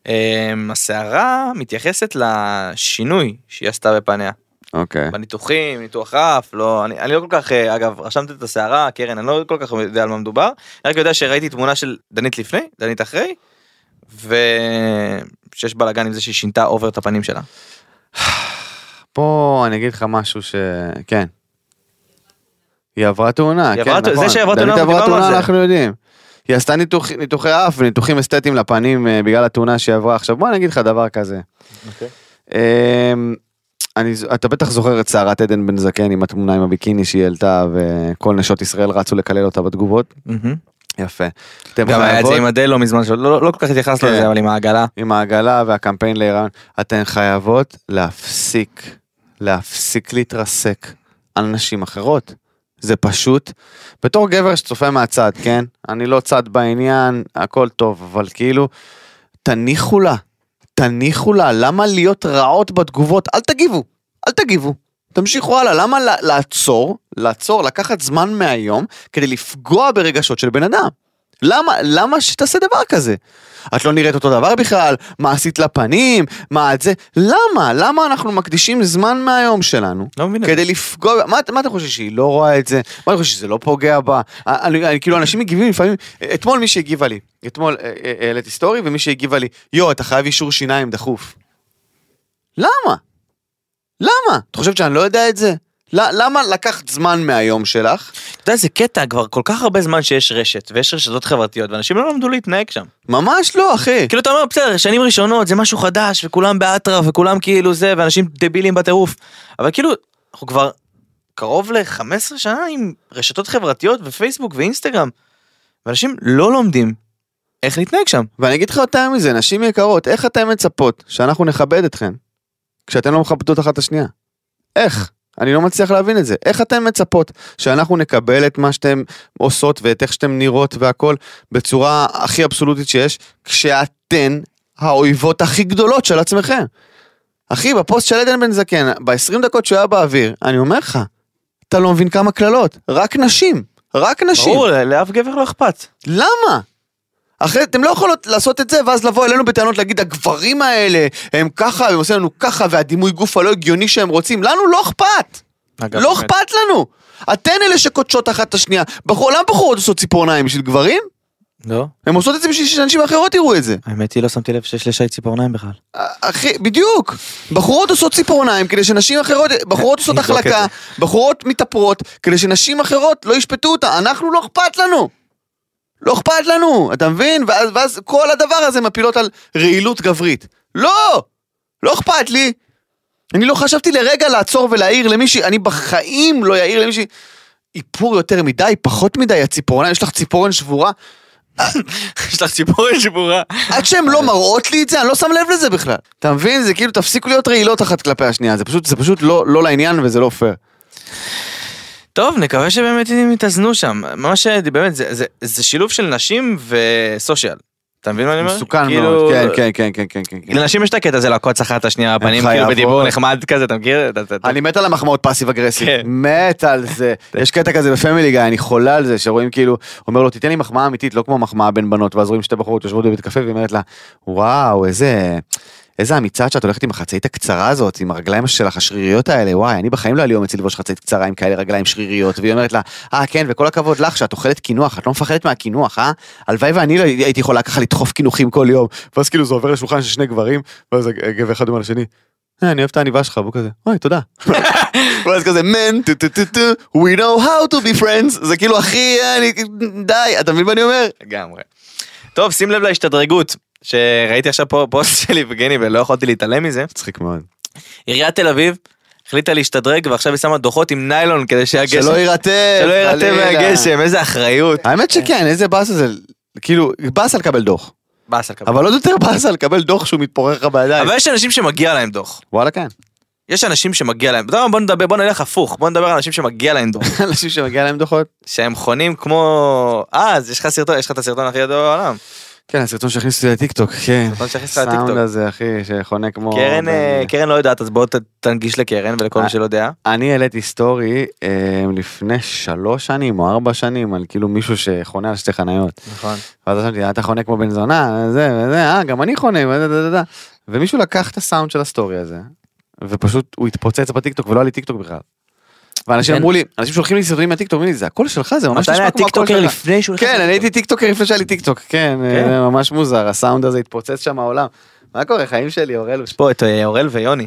Speaker 3: אמ, הסערה מתייחסת לשינוי שהיא עשתה בפניה.
Speaker 2: אוקיי.
Speaker 3: בניתוחים, ניתוח אף, לא, אני, אני לא כל כך, אה, אגב, רשמתי את הסערה, קרן, אני לא כל כך יודע על מה מדובר, אני רק יודע שראיתי תמונה של דנית לפני, דנית אחרי, ושיש בלאגן עם זה שהיא שינתה אובר את הפנים שלה.
Speaker 2: פה אני אגיד לך משהו ש... כן. היא עברה תאונה,
Speaker 3: היא
Speaker 2: כן,
Speaker 3: עברה תא-
Speaker 2: נכון.
Speaker 3: זה שהיא עברה תאונה,
Speaker 2: דנית
Speaker 3: אנחנו
Speaker 2: עברה
Speaker 3: דיברנו על
Speaker 2: תאונה,
Speaker 3: זה.
Speaker 2: אנחנו יודעים. היא עשתה ניתוח, ניתוחי אף וניתוחים אסתטיים לפנים אה, בגלל התאונה שהיא עברה. עכשיו בוא אני אגיד לך דבר כזה.
Speaker 3: אוקיי.
Speaker 2: אמ, אני, ז- אתה בטח זוכר את סערת עדן בן זקן עם התמונה עם הביקיני שהיא העלתה וכל נשות ישראל רצו לקלל אותה בתגובות.
Speaker 3: מהמם.
Speaker 2: יפה. אתם
Speaker 3: גם היה את זה
Speaker 2: חייבות-
Speaker 3: עם אדל לא מזמן, שלא לא, לא כל כך התייחסנו
Speaker 2: כן.
Speaker 3: לזה, אבל עם העגלה.
Speaker 2: עם העגלה והקמפיין להיריון, אתן חייבות להפסיק, להפסיק להתרסק על נשים אחרות. זה פשוט, בתור גבר שצופה מהצד, כן? אני לא צד בעניין, הכל טוב, אבל כאילו, תניחו לה, תניחו לה, למה להיות רעות בתגובות? אל תגיבו, אל תגיבו. תמשיכו הלאה, למה לה- לעצור, לעצור, לקחת זמן מהיום כדי לפגוע ברגשות של בן אדם? למה, למה שתעשה דבר כזה? את לא נראית אותו דבר בכלל, מה עשית לפנים, מה את זה, למה? למה אנחנו מקדישים זמן מהיום שלנו?
Speaker 3: לא מבין את זה.
Speaker 2: כדי לפגוע, בה? מה, מה אתה חושב שהיא לא רואה את זה? מה אתה חושב שזה לא פוגע בה? אני, אני, כאילו אנשים מגיבים לפעמים, אתמול מי שהגיבה לי, אתמול אה, אה, העליתי סטורי ומי שהגיבה לי, יו אתה חייב אישור שיניים דחוף. למה? למה? את חושבת שאני לא יודע את זה? ל- למה לקחת זמן מהיום שלך?
Speaker 3: אתה יודע, זה קטע, כבר כל כך הרבה זמן שיש רשת, ויש רשתות חברתיות, ואנשים לא למדו להתנהג שם.
Speaker 2: ממש לא אחי.
Speaker 3: כאילו אתה אומר בסדר שנים ראשונות זה משהו חדש וכולם באטרף וכולם כאילו זה ואנשים דבילים בטירוף אבל כאילו אנחנו כבר קרוב ל-15 שנה עם רשתות חברתיות ופייסבוק ואינסטגרם ואנשים לא לומדים איך להתנהג שם.
Speaker 2: ואני אגיד לך יותר מזה, נשים יקרות, איך אתן מצפות שאנחנו נכבד אתכן כשאתן לא מכבדות אחת את השנייה? איך? אני לא מצליח להבין את זה. איך אתן מצפות שאנחנו נקבל את מה שאתן עושות ואת איך שאתן נראות והכל בצורה הכי אבסולוטית שיש, כשאתן האויבות הכי גדולות של עצמכם? אחי, בפוסט של עדן בן זקן, ב-20 דקות שהוא היה באוויר, אני אומר לך, אתה לא מבין כמה קללות, רק נשים, רק נשים.
Speaker 3: ברור לא- לאף גבר לא אכפת.
Speaker 2: למה? אחרי, אתם לא יכולות לעשות את זה, ואז לבוא אלינו בטענות להגיד, הגברים האלה, הם ככה, הם עושים לנו ככה, והדימוי גוף הלא הגיוני שהם רוצים, לנו לא אכפת! לא אכפת לנו! אתן אלה שקודשות אחת את השנייה. בחור, למה בחורות עושות ציפורניים? בשביל גברים?
Speaker 3: לא
Speaker 2: הן עושות את זה בשביל שאנשים אחרות יראו את זה.
Speaker 3: האמת היא לא שמתי לב שיש לשי ציפורניים בכלל.
Speaker 2: אחי, בדיוק. בחורות עושות ציפורניים כדי שנשים אחרות, בחורות עושות
Speaker 3: נבדוק את
Speaker 2: החלקה, בחורות מתאפרות, כדי שנשים אחרות לא ישפטו אותה. אנחנו לא אכפת לנו. לא אכפת לנו, אתה מבין? ואז, ואז כל הדבר הזה מפילות על רעילות גברית. לא! לא אכפת לי. אני לא חשבתי לרגע לעצור ולהעיר למישהי, אני בחיים לא אעיר למישהי. איפור יותר מדי, פחות מדי, הציפורניים, יש לך ציפורן שבורה.
Speaker 3: יש לך ציפורת שבורה.
Speaker 2: עד שהן לא מראות לי את זה, אני לא שם לב לזה בכלל. אתה מבין? זה כאילו, תפסיקו להיות רעילות אחת כלפי השנייה, זה פשוט, זה פשוט לא, לא לעניין וזה לא פייר.
Speaker 3: טוב, נקווה שבאמת הם יתאזנו שם. ממש, באמת, זה, זה, זה שילוב של נשים וסושיאל. אתה מבין מה אני אומר?
Speaker 2: מסוכן
Speaker 3: כאילו,
Speaker 2: מאוד, כן, כן, כן, כן, כן, כן. כן.
Speaker 3: לנשים יש את הקטע הזה לעקוץ אחת את השנייה בפנים,
Speaker 2: חייב
Speaker 3: כאילו בדיבור
Speaker 2: מאוד.
Speaker 3: נחמד כזה, אתה מכיר? אתה- אתה- אתה-
Speaker 2: אני מת על המחמאות פאסיב אגרסיב,
Speaker 3: כן.
Speaker 2: מת על זה. יש קטע כזה בפמילי גיא, אני חולה על זה, שרואים כאילו, אומר לו, תיתן לי מחמאה אמיתית, לא כמו מחמאה בין בנות, ואז רואים שתי בחורות יושבות בבית קפה והיא אומרת לה, וואו, איזה... איזה אמיצה את שאת הולכת עם החצאית הקצרה הזאת, עם הרגליים שלך, השריריות האלה, וואי, אני בחיים לא היה לי אומץ ללבוש חצאית קצרה עם כאלה רגליים שריריות, והיא אומרת לה, אה, כן, וכל הכבוד לך שאת אוכלת קינוח, את לא מפחדת מהקינוח, אה? הלוואי ואני לא הייתי יכולה ככה לדחוף קינוחים כל יום, ואז כאילו זה עובר לשולחן של שני גברים, ואז הגבר אחד אומר לשני, "אה, אני אוהב את העניבה שלך, והוא כזה, אוי, תודה. ואז כזה, man, טו טו טו טו, we know how to be friends, זה כאילו הכי, אה, אני- די, אתה מבין מה אני אומר?
Speaker 3: לגמרי. טוב, שים לב להשתדרגות, שראיתי עכשיו פה פוסט של יבגני ולא יכולתי להתעלם מזה.
Speaker 2: מצחיק מאוד.
Speaker 3: עיריית תל אביב החליטה להשתדרג ועכשיו היא שמה דוחות עם ניילון כדי שהגשם...
Speaker 2: שלא יירטב,
Speaker 3: שלא יירטב
Speaker 2: חלילה.
Speaker 3: מהגשם, איזה אחריות.
Speaker 2: האמת שכן, איזה באסה זה, כאילו, באסה לקבל דוח,
Speaker 3: באסה לקבל.
Speaker 2: אבל עוד יותר באסה לקבל דוח שהוא מתפורר לך בידיים.
Speaker 3: אבל יש אנשים שמגיע להם דוח.
Speaker 2: וואלה כן.
Speaker 3: יש אנשים שמגיע להם, אתה יודע מה, בוא נדבר, בוא נלך הפוך, בוא נדבר על אנשים שמגיע להם דוח,
Speaker 2: אנשים שמגיע להם דוחות.
Speaker 3: שהם חונים כמו, אה, אז יש לך סרטון, יש לך את הסרטון הכי ידוע בעולם,
Speaker 2: כן, הסרטון שהכניסו לטיקטוק, כן.
Speaker 3: הסרטון שהכניסת
Speaker 2: הסאונד
Speaker 3: לטיקטוק.
Speaker 2: הזה, אחי, שחונה כמו...
Speaker 3: קרן, אה,
Speaker 2: ב-
Speaker 3: קרן לא יודעת, אז בוא ת- תנגיש לקרן ולכל מי
Speaker 2: אה.
Speaker 3: שלא יודע.
Speaker 2: אני העליתי סטורי אה, לפני שלוש שנים או ארבע שנים על כאילו מישהו שחונה על שתי חניות.
Speaker 3: נכון.
Speaker 2: ואז חשבתי, "אה, אתה חונה כמו בן זונה, זה וזה, אה, גם אני חונה, וזה, זה, זה, זה. ומישהו לקח את הסאונד של הסטורי הזה, ופשוט הוא התפוצץ בטיקטוק ולא היה לי טיקטוק בכלל. ואנשים
Speaker 3: כן.
Speaker 2: אמרו לי, אנשים שולחים לי סרטונים מהטיקטוק, אומרים לי, זה הקול שלך, זה ממש
Speaker 3: אתה
Speaker 2: נשמע
Speaker 3: היה
Speaker 2: כמו הקול
Speaker 3: טיקטוקר
Speaker 2: שלך.
Speaker 3: לפני שהוא נכנס
Speaker 2: כן, אני
Speaker 3: לטיקטוק.
Speaker 2: הייתי טיקטוקר לפני שהיה לי טיקטוק, כן,
Speaker 3: כן.
Speaker 2: אה, ממש מוזר, הסאונד הזה התפוצץ שם העולם. מה קורה, חיים שלי, אוראל
Speaker 3: יש פה את אה, אורל ויוני.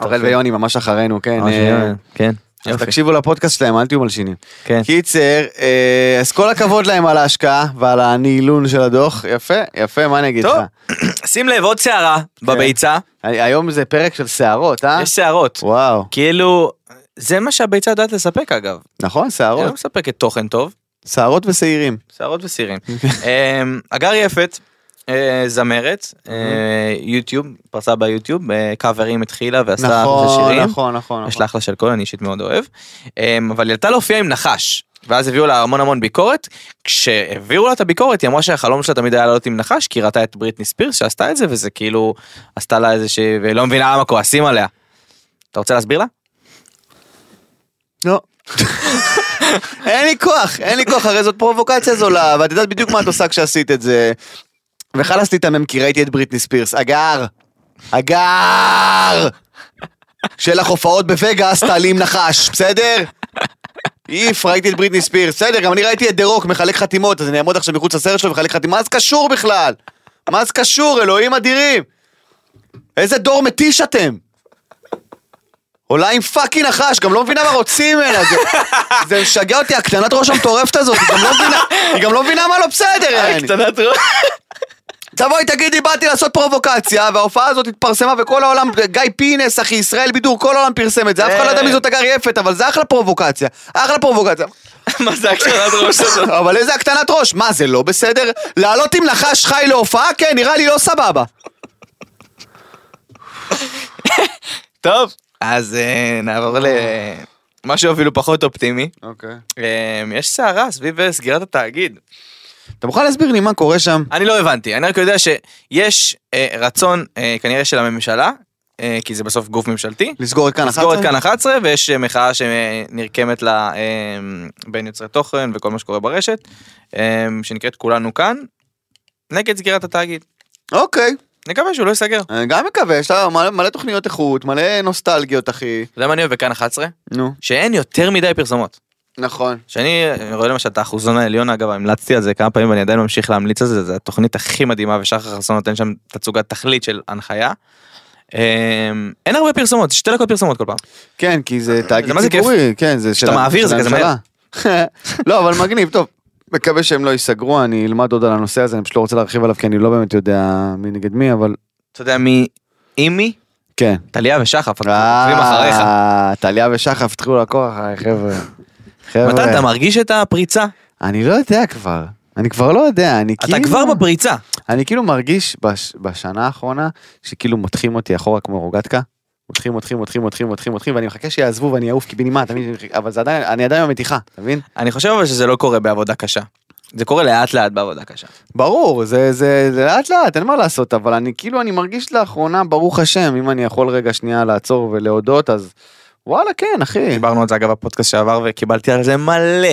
Speaker 2: אוראל ויוני ממש אחרינו, כן.
Speaker 3: אוקיי. ממש
Speaker 2: אה,
Speaker 3: ויוני, כן.
Speaker 2: אז
Speaker 3: יופי,
Speaker 2: תקשיבו לפודקאסט שלהם, אל תהיו מלשינים.
Speaker 3: כן.
Speaker 2: קיצר, אה, אז כל הכבוד להם על ההשקעה ועל הנעילון של הדוח. יפה, יפה, מה אני אגיד לך?
Speaker 3: טוב. שים לב, עוד שערה בביצה,
Speaker 2: אני- היום זה פרק של שערות, אה?
Speaker 3: יש שערות.
Speaker 2: וואו,
Speaker 3: כאילו, זה מה שהביצה יודעת לספק אגב.
Speaker 2: נכון,
Speaker 3: היא לא
Speaker 2: שערות.
Speaker 3: מספקת תוכן טוב.
Speaker 2: שערות ושעירים.
Speaker 3: שערות וסירים. אמ, הגר יפת, אה, זמרת, אה, יוטיוב, פרצה ביוטיוב, אה, קאברים התחילה ועשתה אחלה
Speaker 2: נכון,
Speaker 3: שירים.
Speaker 2: נכון, נכון.
Speaker 3: יש
Speaker 2: נכון.
Speaker 3: לה אחלה של קול, אני אישית מאוד אוהב. אמ, אבל היא עלתה להופיע עם נחש, ואז הביאו לה המון המון ביקורת. כשהעבירו לה את הביקורת, היא אמרה שהחלום שלה תמיד היה לעלות עם נחש, כי היא ראתה את בריטני ספירס שעשתה את זה, וזה כאילו, עשתה לה איזה שהיא, והיא לא מבינה למה כועסים עליה. אתה רוצה להסביר לה?
Speaker 2: לא. אין לי כוח, אין לי כוח, הרי זאת פרובוקציה זולה, ואת יודעת בדיוק מה את עושה כשעשית את זה. וחלאס תיתמם כי ראיתי את בריטני ספירס. הגר! הגר! של הופעות בווגאס, תעלי עם נחש, בסדר? איף, ראיתי את בריטני ספירס. בסדר, גם אני ראיתי את דה רוק מחלק חתימות, אז אני אעמוד עכשיו מחוץ לסרט שלו ומחלק חתימות. מה זה קשור בכלל? מה זה קשור? אלוהים אדירים! איזה דור מתיש אתם! עולה עם פאקינג נחש, גם לא מבינה מה רוצים ממנה, זה, זה משגע אותי, הקטנת ראש המטורפת הזאת, היא גם לא מבינה, היא גם לא מבינה מה לא בסדר, יעני.
Speaker 3: קטנת אה, ראש.
Speaker 2: תבואי תגידי, באתי לעשות פרובוקציה, וההופעה הזאת התפרסמה, וכל העולם, גיא פינס, אחי, ישראל בידור, כל העולם פרסם את זה, אף
Speaker 3: אה.
Speaker 2: אחד לא יודע מי זאת הגר יפת, אבל זה אחלה פרובוקציה, אחלה פרובוקציה.
Speaker 3: מה זה הקטנת ראש הזאת?
Speaker 2: אבל איזה הקטנת ראש, מה זה לא בסדר? לעלות עם נחש חי להופעה? כן, נראה לי לא סבבה.
Speaker 3: טוב, אז אה, נעבור למשהו אפילו פחות אופטימי.
Speaker 2: אוקיי.
Speaker 3: אה, יש סערה סביב אה, סגירת התאגיד.
Speaker 2: אתה מוכן להסביר לי מה קורה שם?
Speaker 3: אני לא הבנתי, אני רק יודע שיש אה, רצון אה, כנראה של הממשלה, אה, כי זה בסוף גוף ממשלתי,
Speaker 2: לסגור את כאן 11?
Speaker 3: לסגור את כאן 11 ויש אה, מחאה שנרקמת לה אה, בין יוצרי תוכן וכל מה שקורה ברשת, אה, שנקראת כולנו כאן, נגד סגירת התאגיד.
Speaker 2: אוקיי.
Speaker 3: נקווה שהוא לא ייסגר. אתה
Speaker 2: אני גם מקווה, יש לה מלא, מלא תוכניות איכות, מלא נוסטלגיות, אחי.
Speaker 3: יודע מה אני אוהב בכאן 11?
Speaker 2: נו.
Speaker 3: שאין יותר מדי פרסומות.
Speaker 2: נכון.
Speaker 3: שאני רואה למשל את האחוזון העליון אגב המלצתי על זה כמה פעמים ואני עדיין ממשיך להמליץ על זה זה התוכנית הכי מדהימה ושחר חסון נותן שם תצוגת תכלית של הנחיה. אמ, אין הרבה פרסומות שתי דקות פרסומות כל פעם.
Speaker 2: כן, כי זה תאגיד
Speaker 3: אה, מה זה כיף?
Speaker 2: ציבורי, כן, זה של
Speaker 3: כשאתה מעביר זה
Speaker 2: של
Speaker 3: כזה
Speaker 2: הממשלה. לא, אבל מגניב, טוב. מקווה שהם לא ייסגרו, אני אלמד עוד על הנושא הזה, אני פשוט לא רוצה להרחיב עליו, כי אני לא באמת יודע מי נגד מי, אבל
Speaker 3: אתה יודע מי אימי
Speaker 2: כן. אה,
Speaker 3: טליה ושחף עוקבים אחריך.
Speaker 2: טליה ושחף התחילו לעקור אחריי, אה, חבר'ה.
Speaker 3: מתן, אתה
Speaker 2: חבר'ה,
Speaker 3: מרגיש את הפריצה?
Speaker 2: אני לא יודע כבר. אני כבר לא יודע, אני
Speaker 3: אתה
Speaker 2: כאילו...
Speaker 3: כבר בפריצה.
Speaker 2: אני כאילו מרגיש בש, בשנה האחרונה שכאילו מותחים אותי אחורה כמו רוגטקה. מותחים, מותחים, מותחים, מותחים, מותחים, מותחים, ואני מחכה שיעזבו ואני אעוף קיבינימט, אבל זה עדיין, אני עדיין במתיחה, אתה מבין?
Speaker 3: אני חושב אבל שזה לא קורה בעבודה קשה. זה קורה לאט לאט בעבודה קשה.
Speaker 2: ברור, זה, זה, זה לאט לאט, אין מה לעשות, אבל אני כאילו, אני מרגיש לאחרונה, ברוך השם, אם אני יכול רגע שנייה לעצור ולהודות, אז וואלה, כן, אחי.
Speaker 3: דיברנו על זה אגב בפודקאסט שעבר וקיבלתי על זה מלא.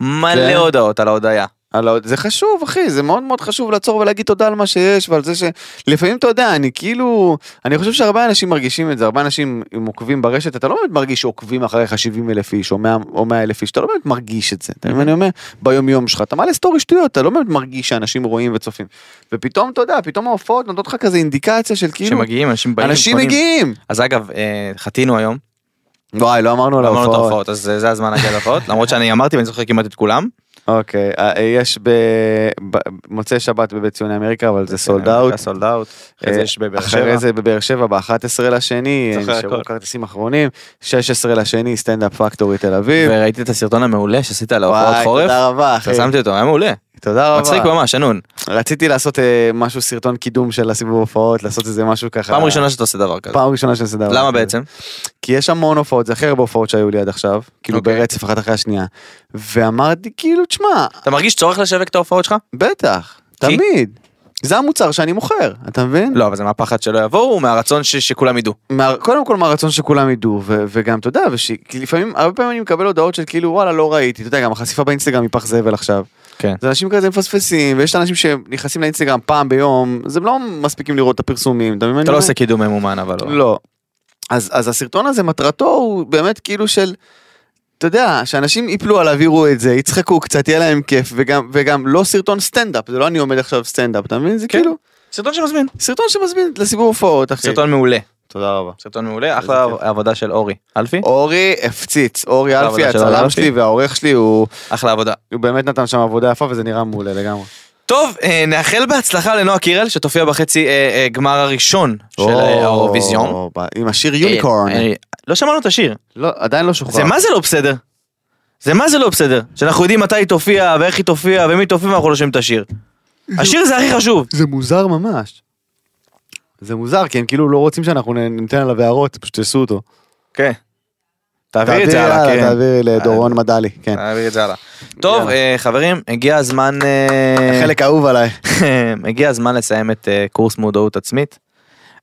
Speaker 3: מלא
Speaker 2: כן.
Speaker 3: הודעות על ההודיה.
Speaker 2: על ה- זה חשוב, אחי, זה מאוד מאוד חשוב לעצור ולהגיד תודה על מה שיש, ועל זה ש... לפעמים, אתה יודע, אני כאילו... אני חושב שהרבה אנשים מרגישים את זה, הרבה אנשים הם עוקבים ברשת, אתה לא באמת מרגיש שעוקבים אחריך 70 אלף איש או 100 או 100 אלף איש, אתה לא באמת מרגיש את זה, אתה מבין מה אני אומר? ביום יום שלך, אתה מעלה סטורי שטויות, אתה לא באמת מרגיש שאנשים רואים וצופים. ופתאום, אתה יודע, פתאום ההופעות נותנות לך כזה אינדיקציה של כאילו...
Speaker 3: שמגיעים אנשים באים.
Speaker 2: אנשים
Speaker 3: קונים.
Speaker 2: מגיעים!
Speaker 3: אז אגב אה, חטינו היום.
Speaker 2: וואי, לא אמרנו על
Speaker 3: אמרנו את
Speaker 2: ההופעות.
Speaker 3: ההופעות אז אה, זה הזמן להגיע להופעות למרות שאני אמרתי ואני זוכר כמעט את כולם.
Speaker 2: אוקיי, אה, יש במוצאי שבת בבית ציוני אמריקה, אבל זה סולד אאוט.
Speaker 3: סולד אאוט. אחרי זה יש בבאר שבע.
Speaker 2: אה, אחרי זה בבאר שבע ב-11 לשני,
Speaker 3: זוכר
Speaker 2: נשארו
Speaker 3: הכל.
Speaker 2: כרטיסים אחרונים, 16 לשני סטנדאפ פקטורי תל אביב.
Speaker 3: וראיתי את הסרטון המעולה שעשית על ההופעות
Speaker 2: וואי,
Speaker 3: לא, חורף.
Speaker 2: תודה רבה אחי,
Speaker 3: פרסמתי אותו היה מעולה.
Speaker 2: תודה
Speaker 3: מצחיק
Speaker 2: רבה.
Speaker 3: ממש שנון.
Speaker 2: רציתי לעשות אה, משהו סרטון קידום של הסיבוב הופעות, לעשות איזה משהו ככה.
Speaker 3: פעם ראשונה שאתה עושה דבר כזה.
Speaker 2: פעם ראשונה שאני עושה דבר
Speaker 3: למה
Speaker 2: כזה.
Speaker 3: בעצם?
Speaker 2: כי יש המון הופעות, זה הכי הרבה הופעות שהיו לי עד עכשיו, כאילו
Speaker 3: אוקיי.
Speaker 2: ברצף אחת אחרי השנייה. ואמרתי כאילו, תשמע,
Speaker 3: אתה מרגיש צורך לשווק את ההופעות שלך?
Speaker 2: בטח,
Speaker 3: כי-
Speaker 2: תמיד. זה המוצר שאני מוכר, אתה מבין?
Speaker 3: לא אבל זה מהפחד שלא יבואו מהרצון ש- שכולם ידעו.
Speaker 2: מה, קודם כל מהרצון שכולם ידעו ו- וגם אתה יודע וש- כי לפעמים הרבה פעמים אני מקבל הודעות של כאילו וואלה לא ראיתי אתה יודע גם החשיפה באינסטגרם היא פח זבל עכשיו.
Speaker 3: כן.
Speaker 2: זה אנשים כזה מפספסים ויש אנשים שנכנסים לאינסטגרם פעם ביום אז הם לא מספיקים לראות את הפרסומים. אתה מבין מה אני
Speaker 3: אתה לא
Speaker 2: אומר?
Speaker 3: עושה קידום ממומן אבל לא.
Speaker 2: לא. אז אז הסרטון הזה מטרתו הוא באמת כאילו של. אתה יודע שאנשים יפלו עליו יראו את זה יצחקו קצת יהיה להם כיף וגם וגם לא סרטון סטנדאפ זה לא אני עומד עכשיו סטנדאפ אתה מבין זה
Speaker 3: כן.
Speaker 2: כאילו
Speaker 3: סרטון שמזמין.
Speaker 2: סרטון שמזמין לסיבוב הופעות אחי.
Speaker 3: סרטון מעולה.
Speaker 2: תודה רבה.
Speaker 3: סרטון מעולה, אחלה
Speaker 2: כיף.
Speaker 3: עבודה של אורי. אלפי?
Speaker 2: אורי הפציץ, אורי אלפי
Speaker 3: העבודה של אורי
Speaker 2: הצלם
Speaker 3: אלפי.
Speaker 2: שלי והעורך שלי הוא
Speaker 3: אחלה עבודה.
Speaker 2: הוא באמת נתן שם עבודה יפה וזה נראה מעולה לגמרי.
Speaker 3: טוב, אה, נאחל בהצלחה לנועה קירל שתופיע בחצי אה, אה, גמר הראשון של אה, האירוויזיון.
Speaker 2: או, ב- עם השיר יוניקורן.
Speaker 3: אה, אה, לא שמענו את השיר.
Speaker 2: לא, עדיין לא שוחרר.
Speaker 3: זה מה זה לא בסדר? זה מה זה לא בסדר? שאנחנו יודעים מתי היא תופיע ואיך היא תופיע ומי תופיע ואנחנו לא שומעים את השיר. השיר זה הכי חשוב.
Speaker 2: זה מוזר ממש. זה מוזר כי הם כאילו לא רוצים שאנחנו נ- ניתן עליו הערות, פשוט תעשו אותו.
Speaker 3: כן. תעביר את זה הלאה,
Speaker 2: הלאה,
Speaker 3: כן. אה,
Speaker 2: תעבירי לדורון מדלי, כן.
Speaker 3: תעביר את זה הלאה. טוב,
Speaker 2: יאללה.
Speaker 3: אה, חברים, הגיע הזמן... אה,
Speaker 2: חלק אהוב עליי.
Speaker 3: הגיע הזמן לסיים את אה, קורס מודעות עצמית.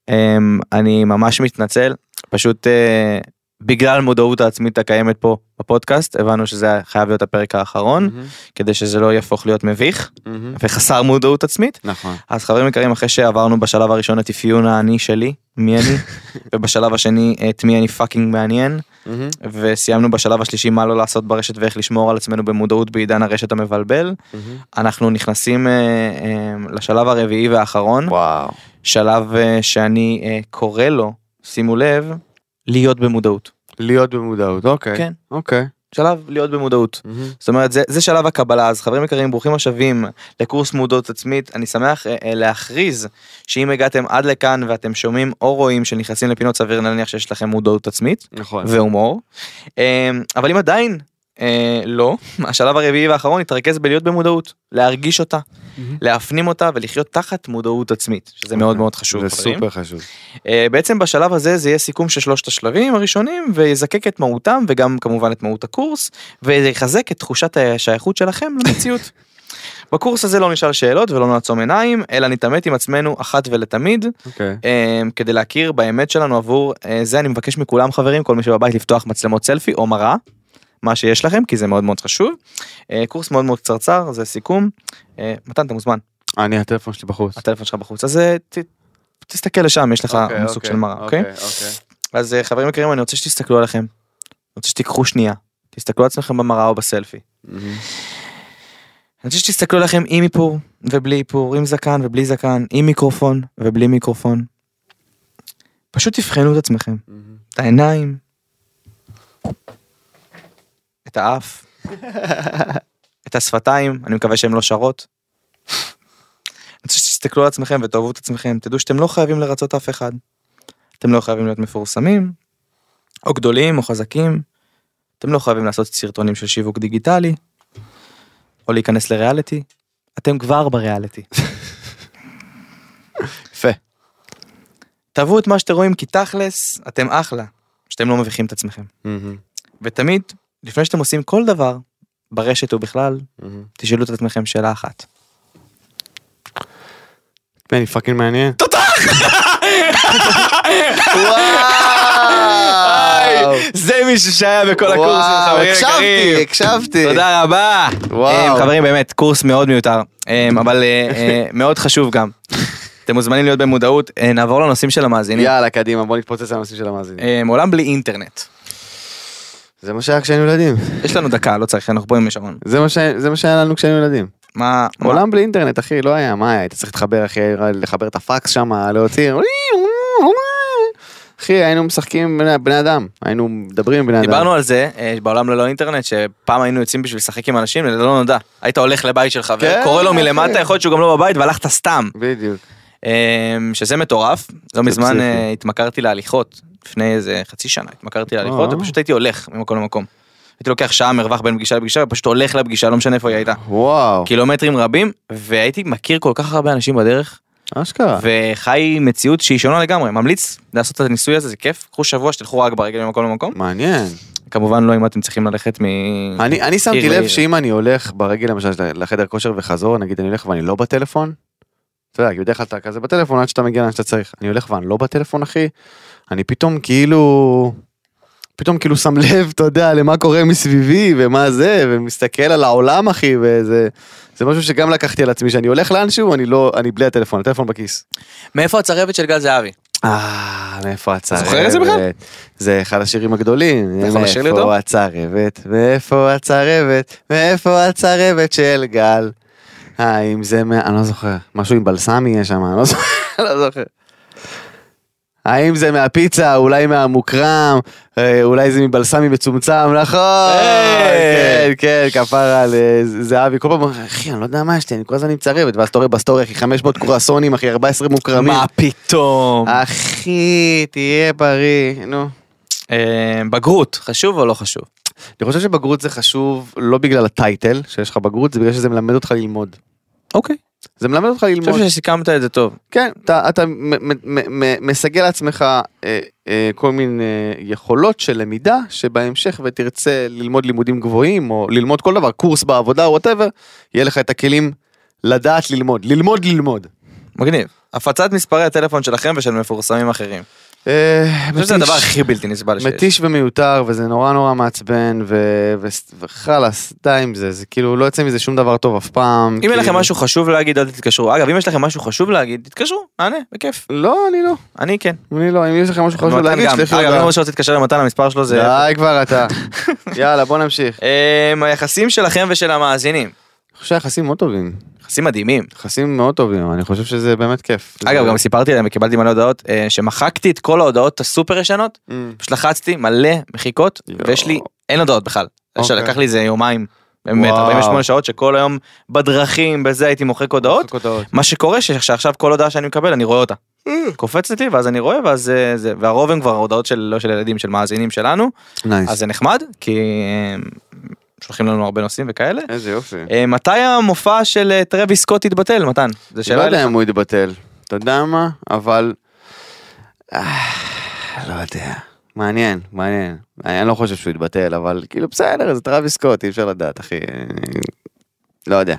Speaker 3: אמ, אני ממש מתנצל, פשוט אה, בגלל המודעות העצמית הקיימת פה בפודקאסט, הבנו שזה חייב להיות הפרק האחרון, כדי שזה לא יהפוך להיות מביך
Speaker 2: מהמם.
Speaker 3: וחסר מודעות עצמית.
Speaker 2: נכון.
Speaker 3: אז חברים יקרים, אחרי שעברנו בשלב הראשון את אפיון האני שלי, מי אני, ובשלב השני את מי אני פאקינג מעניין,
Speaker 2: מהמם.
Speaker 3: וסיימנו בשלב השלישי מה לא לעשות ברשת ואיך לשמור על עצמנו במודעות בעידן הרשת המבלבל.
Speaker 2: מהמם.
Speaker 3: אנחנו נכנסים אה, אה, לשלב הרביעי והאחרון,
Speaker 2: וואו.
Speaker 3: שלב אה, שאני אה, קורא לו, שימו לב, להיות במודעות.
Speaker 2: להיות במודעות, אוקיי.
Speaker 3: כן.
Speaker 2: אוקיי.
Speaker 3: שלב להיות במודעות.
Speaker 2: מהמם.
Speaker 3: זאת אומרת זה, זה שלב הקבלה אז חברים יקרים ברוכים השבים לקורס מודעות עצמית אני שמח אה, אה, להכריז שאם הגעתם עד לכאן ואתם שומעים או רואים שנכנסים לפינות סביר נניח שיש לכם מודעות עצמית
Speaker 2: נכון.
Speaker 3: והומור אה, אבל אם עדיין אה, לא השלב הרביעי והאחרון יתרכז בלהיות במודעות להרגיש אותה
Speaker 2: מהמם.
Speaker 3: להפנים אותה ולחיות תחת מודעות עצמית שזה מאוד מאוד חשוב.
Speaker 2: אוקיי. זה
Speaker 3: חברים.
Speaker 2: סופר חשוב.
Speaker 3: אה, בעצם בשלב הזה זה יהיה סיכום של שלושת השלבים הראשונים ויזקק את מהותם וגם כמובן את מהות הקורס וזה יחזק את תחושת השייכות שלכם למציאות. בקורס הזה לא נשאל שאלות ולא נעצום עיניים אלא נתעמת עם עצמנו אחת ולתמיד
Speaker 2: אוקיי.
Speaker 3: אה, כדי להכיר באמת שלנו עבור אה, זה אני מבקש מכולם חברים כל מי שבבית לפתוח מצלמות סלפי או מראה. מה שיש לכם כי זה מאוד מאוד חשוב אה, קורס מאוד מאוד קצרצר זה סיכום אה, מתן אתה מוזמן
Speaker 2: אה, אני, הטלפון שלי בחוץ.
Speaker 3: הטלפון שלך בחוץ אז אה, ת, תסתכל לשם יש לך
Speaker 2: אוקיי,
Speaker 3: סוג של
Speaker 2: אוקיי,
Speaker 3: מראה אוקיי.
Speaker 2: אוקיי.
Speaker 3: אז אה, חברים יקרים אני רוצה שתסתכלו עליכם. אני רוצה שתיקחו שנייה. תסתכלו על עצמכם במראה או בסלפי.
Speaker 2: מהמם.
Speaker 3: אני רוצה שתסתכלו עליכם עם איפור ובלי איפור, עם זקן ובלי זקן, עם מיקרופון ובלי מיקרופון. פשוט תבחנו את עצמכם,
Speaker 2: מהמם.
Speaker 3: את העיניים, את האף, את השפתיים, אני מקווה שהן לא שרות. אני רוצה שתסתכלו על עצמכם ותאהבו את עצמכם, תדעו שאתם לא חייבים לרצות אף אחד. אתם לא חייבים להיות מפורסמים, או גדולים, או חזקים. אתם לא חייבים לעשות סרטונים של שיווק דיגיטלי, או להיכנס לריאליטי, אתם כבר בריאליטי.
Speaker 2: יפה.
Speaker 3: תאהבו את מה שאתם רואים, כי תכלס, אתם אחלה, שאתם לא מביכים את עצמכם.
Speaker 2: מהמם,
Speaker 3: ותמיד, לפני שאתם עושים כל דבר, ברשת ובכלל,
Speaker 2: מהמם.
Speaker 3: תשאלו את עצמכם שאלה אחת.
Speaker 2: אני פאקינג מעניין.
Speaker 3: וואו. זה מישהו שהיה בכל הקורסים,
Speaker 2: וואו,
Speaker 3: חברים יקרים.
Speaker 2: הקשבתי, הקשבתי.
Speaker 3: תודה רבה.
Speaker 2: וואו.
Speaker 3: וואו. חברים, באמת, קורס מאוד מיותר, אמ, אבל אה, אה, מאוד חשוב גם. אתם מוזמנים להיות במודעות. אה, נעבור לנושאים של המאזינים.
Speaker 2: יאללה, קדימה, בוא נתפוצץ על הנושאים של המאזינים.
Speaker 3: אמ, עולם בלי אינטרנט.
Speaker 2: זה מה שהיה כשהיינו ילדים.
Speaker 3: יש לנו דקה, לא צריך, אנחנו פה עם שרון.
Speaker 2: זה מה ש- זה מה שהיה לנו כשהיינו ילדים.
Speaker 3: מה? מה?
Speaker 2: עולם בלי אינטרנט, אחי, לא היה, מה היה? היית צריך להתחבר, אחי, לחבר את הפקס שם, להוציא... אה, אחי, היינו משחקים עם בני- בני אדם, היינו מדברים עם בני אדם.
Speaker 3: דיברנו על זה אה, בעולם ללא אינטרנט שפעם היינו יוצאים בשביל לשחק עם אנשים ללא נודע היית הולך לבית של
Speaker 2: כן,
Speaker 3: חבר קורא לו
Speaker 2: אחי.
Speaker 3: מלמטה יכול להיות שהוא גם לא בבית והלכת סתם
Speaker 2: בדיוק.
Speaker 3: אה, שזה מטורף לא מזמן
Speaker 2: פסיכי.
Speaker 3: אה, התמכרתי להליכות לפני איזה חצי שנה התמכרתי להליכות
Speaker 2: אה.
Speaker 3: ופשוט הייתי הולך ממקום למקום. הייתי לוקח שעה מרווח בין פגישה לפגישה ופשוט הולך לפגישה לא משנה איפה היא
Speaker 2: אה.
Speaker 3: הייתה
Speaker 2: וואו,
Speaker 3: קילומטרים רבים והייתי מכיר כל כך הרבה אנשים בדרך
Speaker 2: אשכרה.
Speaker 3: וחי מציאות שהיא שונה לגמרי ממליץ לעשות את הניסוי הזה זה כיף קחו שבוע שתלכו רק ברגל ממקום למקום
Speaker 2: מעניין.
Speaker 3: כמובן לא אם אתם צריכים ללכת מ...
Speaker 2: אני אני שמתי
Speaker 3: עיר
Speaker 2: לב
Speaker 3: לעיר.
Speaker 2: שאם אני הולך ברגל למשל לחדר כושר וחזור, נגיד אני הולך ואני לא בטלפון, אתה יודע, כי בדרך כלל אתה כזה בטלפון עד שאתה מגיע לאן שאתה צריך. אני הולך ואני לא בטלפון, אחי, אני פתאום כאילו... פתאום כאילו שם לב, אתה יודע, למה קורה מסביבי ומה זה, ומסתכל על העולם, אחי, וזה... זה משהו שגם לקחתי על עצמי, שאני הולך לאנשהו, אני לא... אני בלי הטלפון, הטלפון בכיס.
Speaker 3: מאיפה הצרבת של גל זהבי?
Speaker 2: אה, מאיפה הצרבת?
Speaker 3: זוכר את זה בכלל? נכון,
Speaker 2: זה אחד השירים הגדולים.
Speaker 3: אתה יכול לשיר לי אותו?
Speaker 2: מאיפה הצרבת? מאיפה הצרבת? מאיפה הצרבת של גל? האם זה... מה- אני לא זוכר. משהו עם בלסמי יש שם, אני לא זוכר. לא זוכר. האם זה מהפיצה, אולי מהמוקרם, אה, אולי זה מבלסמי מצומצם, נכון, כן,
Speaker 3: היי.
Speaker 2: כן, כפרה על אה, ז- זהבי, כל פעם, אחי, אני לא יודע מה יש לי, אני כל הזמן עם צרבת, ואז אתה רואה בסטורי, אחי, 500 קורסונים, אחי, 14 מוקרמים.
Speaker 3: מה פתאום?
Speaker 2: אה. אחי, תהיה בריא, נו.
Speaker 3: אה, בגרות, חשוב או לא חשוב?
Speaker 2: אני חושב שבגרות זה חשוב לא בגלל הטייטל שיש לך בגרות, זה בגלל שזה מלמד אותך ללמוד.
Speaker 3: אוקיי.
Speaker 2: זה מלמד אותך
Speaker 3: אני
Speaker 2: ללמוד.
Speaker 3: חושב שסיכמת את זה טוב.
Speaker 2: כן, אתה, אתה מ- מ- מ- מ- מסגל לעצמך אה, אה, כל מיני יכולות של למידה, שבהמשך ותרצה ללמוד לימודים גבוהים, או ללמוד כל דבר, קורס בעבודה, וואטאבר, יהיה לך את הכלים לדעת ללמוד, ללמוד ללמוד.
Speaker 3: מגניב. הפצת מספרי הטלפון שלכם ושל מפורסמים אחרים.
Speaker 2: אה,
Speaker 3: אני חושב שזה
Speaker 2: מתיש.
Speaker 3: הדבר הכי בלתי נסבל שיש.
Speaker 2: מתיש ומיותר וזה נורא נורא מעצבן ו- ו- וחלאס די עם זה זה כאילו לא יוצא מזה שום דבר טוב אף פעם.
Speaker 3: אם אין לכם
Speaker 2: כאילו.
Speaker 3: משהו חשוב להגיד אל תתקשרו. אגב אם יש לכם משהו חשוב להגיד תתקשרו, נענה, בכיף.
Speaker 2: לא אני לא
Speaker 3: אני כן.
Speaker 2: אני לא אם יש לכם משהו חשוב
Speaker 3: מתן
Speaker 2: להגיד
Speaker 3: גם.
Speaker 2: שלחי
Speaker 3: אגב אם
Speaker 2: הודעה.
Speaker 3: מישהו רוצה להתקשר למתן המספר שלו זה...
Speaker 2: די כבר אתה יאללה בוא נמשיך.
Speaker 3: אה, היחסים שלכם ושל המאזינים.
Speaker 2: אני חושב שהיחסים מאוד טובים
Speaker 3: יחסים מדהימים.
Speaker 2: יחסים מאוד טובים אני חושב שזה באמת כיף. אה,
Speaker 3: אגב
Speaker 2: זה-
Speaker 3: גם סיפרתי להם וקיבלתי מלא הודעות אה, שמחקתי את כל ההודעות הסופר ישנות
Speaker 2: Mm.
Speaker 3: פשוט לחצתי מלא מחיקות
Speaker 2: יואו.
Speaker 3: ויש לי אין הודעות בכלל.
Speaker 2: אוקיי.
Speaker 3: לקח לי איזה יומיים באמת
Speaker 2: וואו.
Speaker 3: 48 שעות שכל היום בדרכים בזה הייתי מוחק הודעות.
Speaker 2: הודעות. אה.
Speaker 3: מה שקורה שעכשיו כל הודעה שאני מקבל אני רואה אותה. קופצת לי ואז אני רואה ואז אה, זה והרוב הם כבר הודעות של לא של ילדים של מאזינים שלנו אז
Speaker 2: נייס.
Speaker 3: זה נחמד כי אה, שולחים לנו הרבה נושאים וכאלה.
Speaker 2: איזה יופי.
Speaker 3: אה, מתי המופע של אה, טרוויס סקוט יתבטל מתן? זו
Speaker 2: לא
Speaker 3: שאלה
Speaker 2: יודע
Speaker 3: אליך.
Speaker 2: אם הוא יתבטל. אתה יודע מה? אבל... אה, לא יודע. מעניין, מעניין. אני לא חושב שהוא יתבטל, אבל כאילו בסדר, זה טראביס סקוט, אי אפשר לדעת, אחי. לא יודע.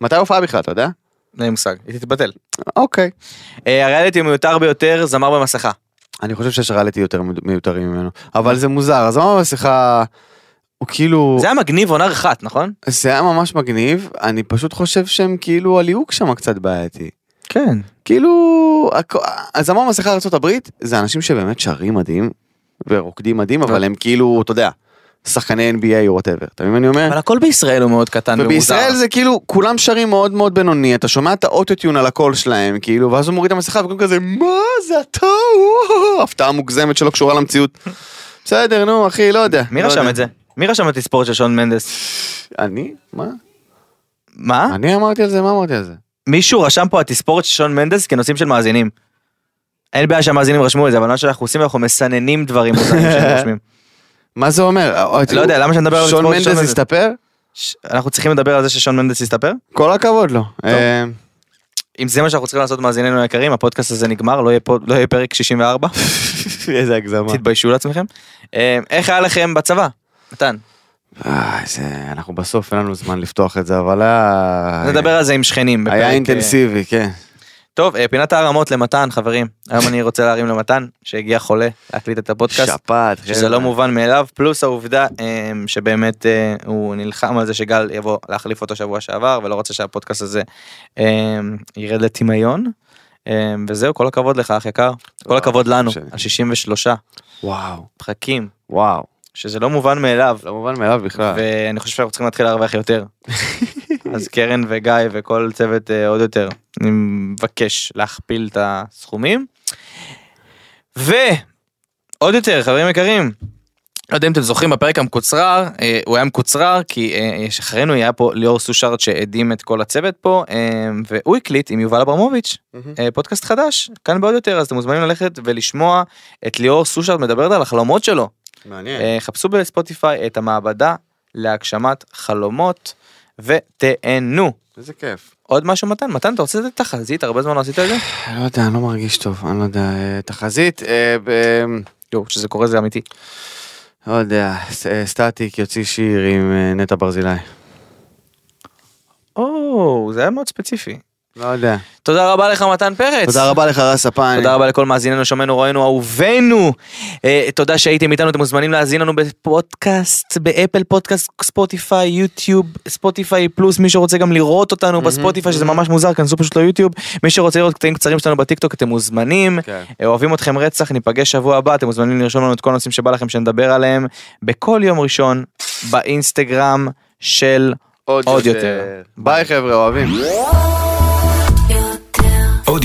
Speaker 2: מתי ההופעה בכלל, אתה יודע?
Speaker 3: אין לי מושג היא תתבטל.
Speaker 2: אוקיי.
Speaker 3: אה, הריאליטי המיותר ביותר זמר במסכה.
Speaker 2: אני חושב שיש ריאליטי יותר מיותרים ממנו, אבל זה מוזר, אז אמרנו בשיחה... הוא כאילו...
Speaker 3: זה היה מגניב עונה אחת נכון?
Speaker 2: זה היה ממש מגניב, אני פשוט חושב שהם כאילו הליהוק שם קצת בעייתי.
Speaker 3: כן.
Speaker 2: כאילו, הכ- הזמר מסכה ארצות הברית זה אנשים שבאמת שרים מדהים ורוקדים מדהים, אבל הם כאילו, אתה יודע, שחקני NBA או וואטאבר, אתה מבין מה אני אומר?
Speaker 3: אבל הכל בישראל הוא מאוד קטן ומוזר.
Speaker 2: ובישראל זה כאילו, כולם שרים מאוד מאוד בינוני, אתה שומע את האוטוטיון על הקול שלהם, כאילו, ואז הוא מוריד את המסכה וכולם כזה, מה זה אתה? וואו", הפתעה מוגזמת שלא קשורה למציאות. בסדר, נו, אחי, לא יודע.
Speaker 3: מי
Speaker 2: לא
Speaker 3: רשם
Speaker 2: יודע.
Speaker 3: את זה? מי רשם את הספורט של שון מנדס?
Speaker 2: אני? מה?
Speaker 3: מה?
Speaker 2: אני אמרתי על זה, מה אמרתי על זה?
Speaker 3: מישהו רשם פה התספורת של שון מנדס כנושאים של מאזינים. אין בעיה שהמאזינים רשמו את זה, אבל מה שאנחנו עושים אנחנו מסננים דברים מוזרים שהם רושמים.
Speaker 2: מה זה אומר? אוי,
Speaker 3: לא יודע, למה שנדבר על
Speaker 2: שון
Speaker 3: לצפות שון
Speaker 2: מנדס
Speaker 3: מנדס?
Speaker 2: הסתפר?
Speaker 3: ש- אנחנו צריכים לדבר על זה ששון מנדס הסתפר?
Speaker 2: כל הכבוד לו. אה,
Speaker 3: אם זה מה שאנחנו צריכים לעשות מאזיננו היקרים, הפודקאסט הזה נגמר, לא יהיה פה- לא יהיה פרק 64,
Speaker 2: איזה הגזמה.
Speaker 3: תתביישו לעצמכם. אה, איך היה לכם בצבא? מתן,
Speaker 2: אה, זה- אנחנו בסוף אין לנו זמן לפתוח את זה, אבל היה...
Speaker 3: נדבר על זה עם שכנים. בפרק,
Speaker 2: היה
Speaker 3: אה,
Speaker 2: אינטנסיבי, כן.
Speaker 3: טוב, אה, פינת הערמות למתן, חברים. היום אני רוצה להרים למתן, שהגיע חולה להקליט את הפודקאסט.
Speaker 2: שפעת.
Speaker 3: שזה
Speaker 2: חבר'ה.
Speaker 3: לא מובן מאליו, פלוס העובדה אה, שבאמת אה, הוא נלחם על זה שגל יבוא להחליף אותו שבוע שעבר, ולא רוצה שהפודקאסט הזה אה, ירד לטמיון. אה, וזהו, כל הכבוד לך, אח יקר. כל הכבוד לנו,
Speaker 2: שני.
Speaker 3: על 63
Speaker 2: וואו,
Speaker 3: פרקים,
Speaker 2: וואו.
Speaker 3: שזה לא מובן מאליו,
Speaker 2: לא מובן מאליו בכלל.
Speaker 3: ואני חושב שאנחנו צריכים להתחיל להרוויח יותר. אז קרן וגיא וכל צוות אה, עוד יותר, אני מבקש להכפיל את הסכומים. ועוד יותר, חברים יקרים, לא יודע אם אתם זוכרים בפרק המקוצרר, אה, הוא היה מקוצרר כי אה, יש אחרינו היה פה ליאור סושארט שהדים את כל הצוות פה, אה, והוא הקליט עם יובל אברמוביץ', אה, פודקאסט חדש, כאן בעוד יותר, אז אתם מוזמנים ללכת ולשמוע את ליאור סושארט מדברת על החלומות שלו.
Speaker 2: מעניין.
Speaker 3: אה, חפשו בספוטיפיי את המעבדה להגשמת חלומות ותהנו.
Speaker 2: איזה כיף.
Speaker 3: עוד משהו מתן? מתן אתה רוצה לתת תחזית? הרבה זמן לא עשית את זה?
Speaker 2: אני לא יודע, אני לא מרגיש טוב, אני לא יודע. אה, תחזית, אה, ב- אה,
Speaker 3: לא, שזה קורה זה אמיתי.
Speaker 2: לא יודע, ס- אה, סטטיק יוציא שיר עם אה, נטע ברזילי.
Speaker 3: או, זה היה מאוד ספציפי.
Speaker 2: לא יודע.
Speaker 3: תודה רבה לך מתן פרץ.
Speaker 2: תודה רבה לך, רס הפן.
Speaker 3: תודה רבה לכל מאזיננו, שומענו, רואינו, אהובינו. אה, תודה שהייתם איתנו, אתם מוזמנים להאזין לנו בפודקאסט, באפל פודקאסט, ספוטיפיי, יוטיוב, ספוטיפיי פלוס, מי שרוצה גם לראות אותנו בספוטיפיי, שזה ממש מוזר, כנסו פשוט ליוטיוב. מי שרוצה לראות קטעים קצרים שלנו בטיקטוק, אתם מוזמנים.
Speaker 2: כן.
Speaker 3: אה, אוהבים אתכם רצח, ניפגש שבוע הבא, אתם מוזמנים לרשום לנו את כל הנושאים שבא לכם שנדבר עליהם, בכל יום ראשון, באינסטגרם של עוד יותר.
Speaker 2: ביי חבר'ה, אוהבים.
Speaker 1: עוד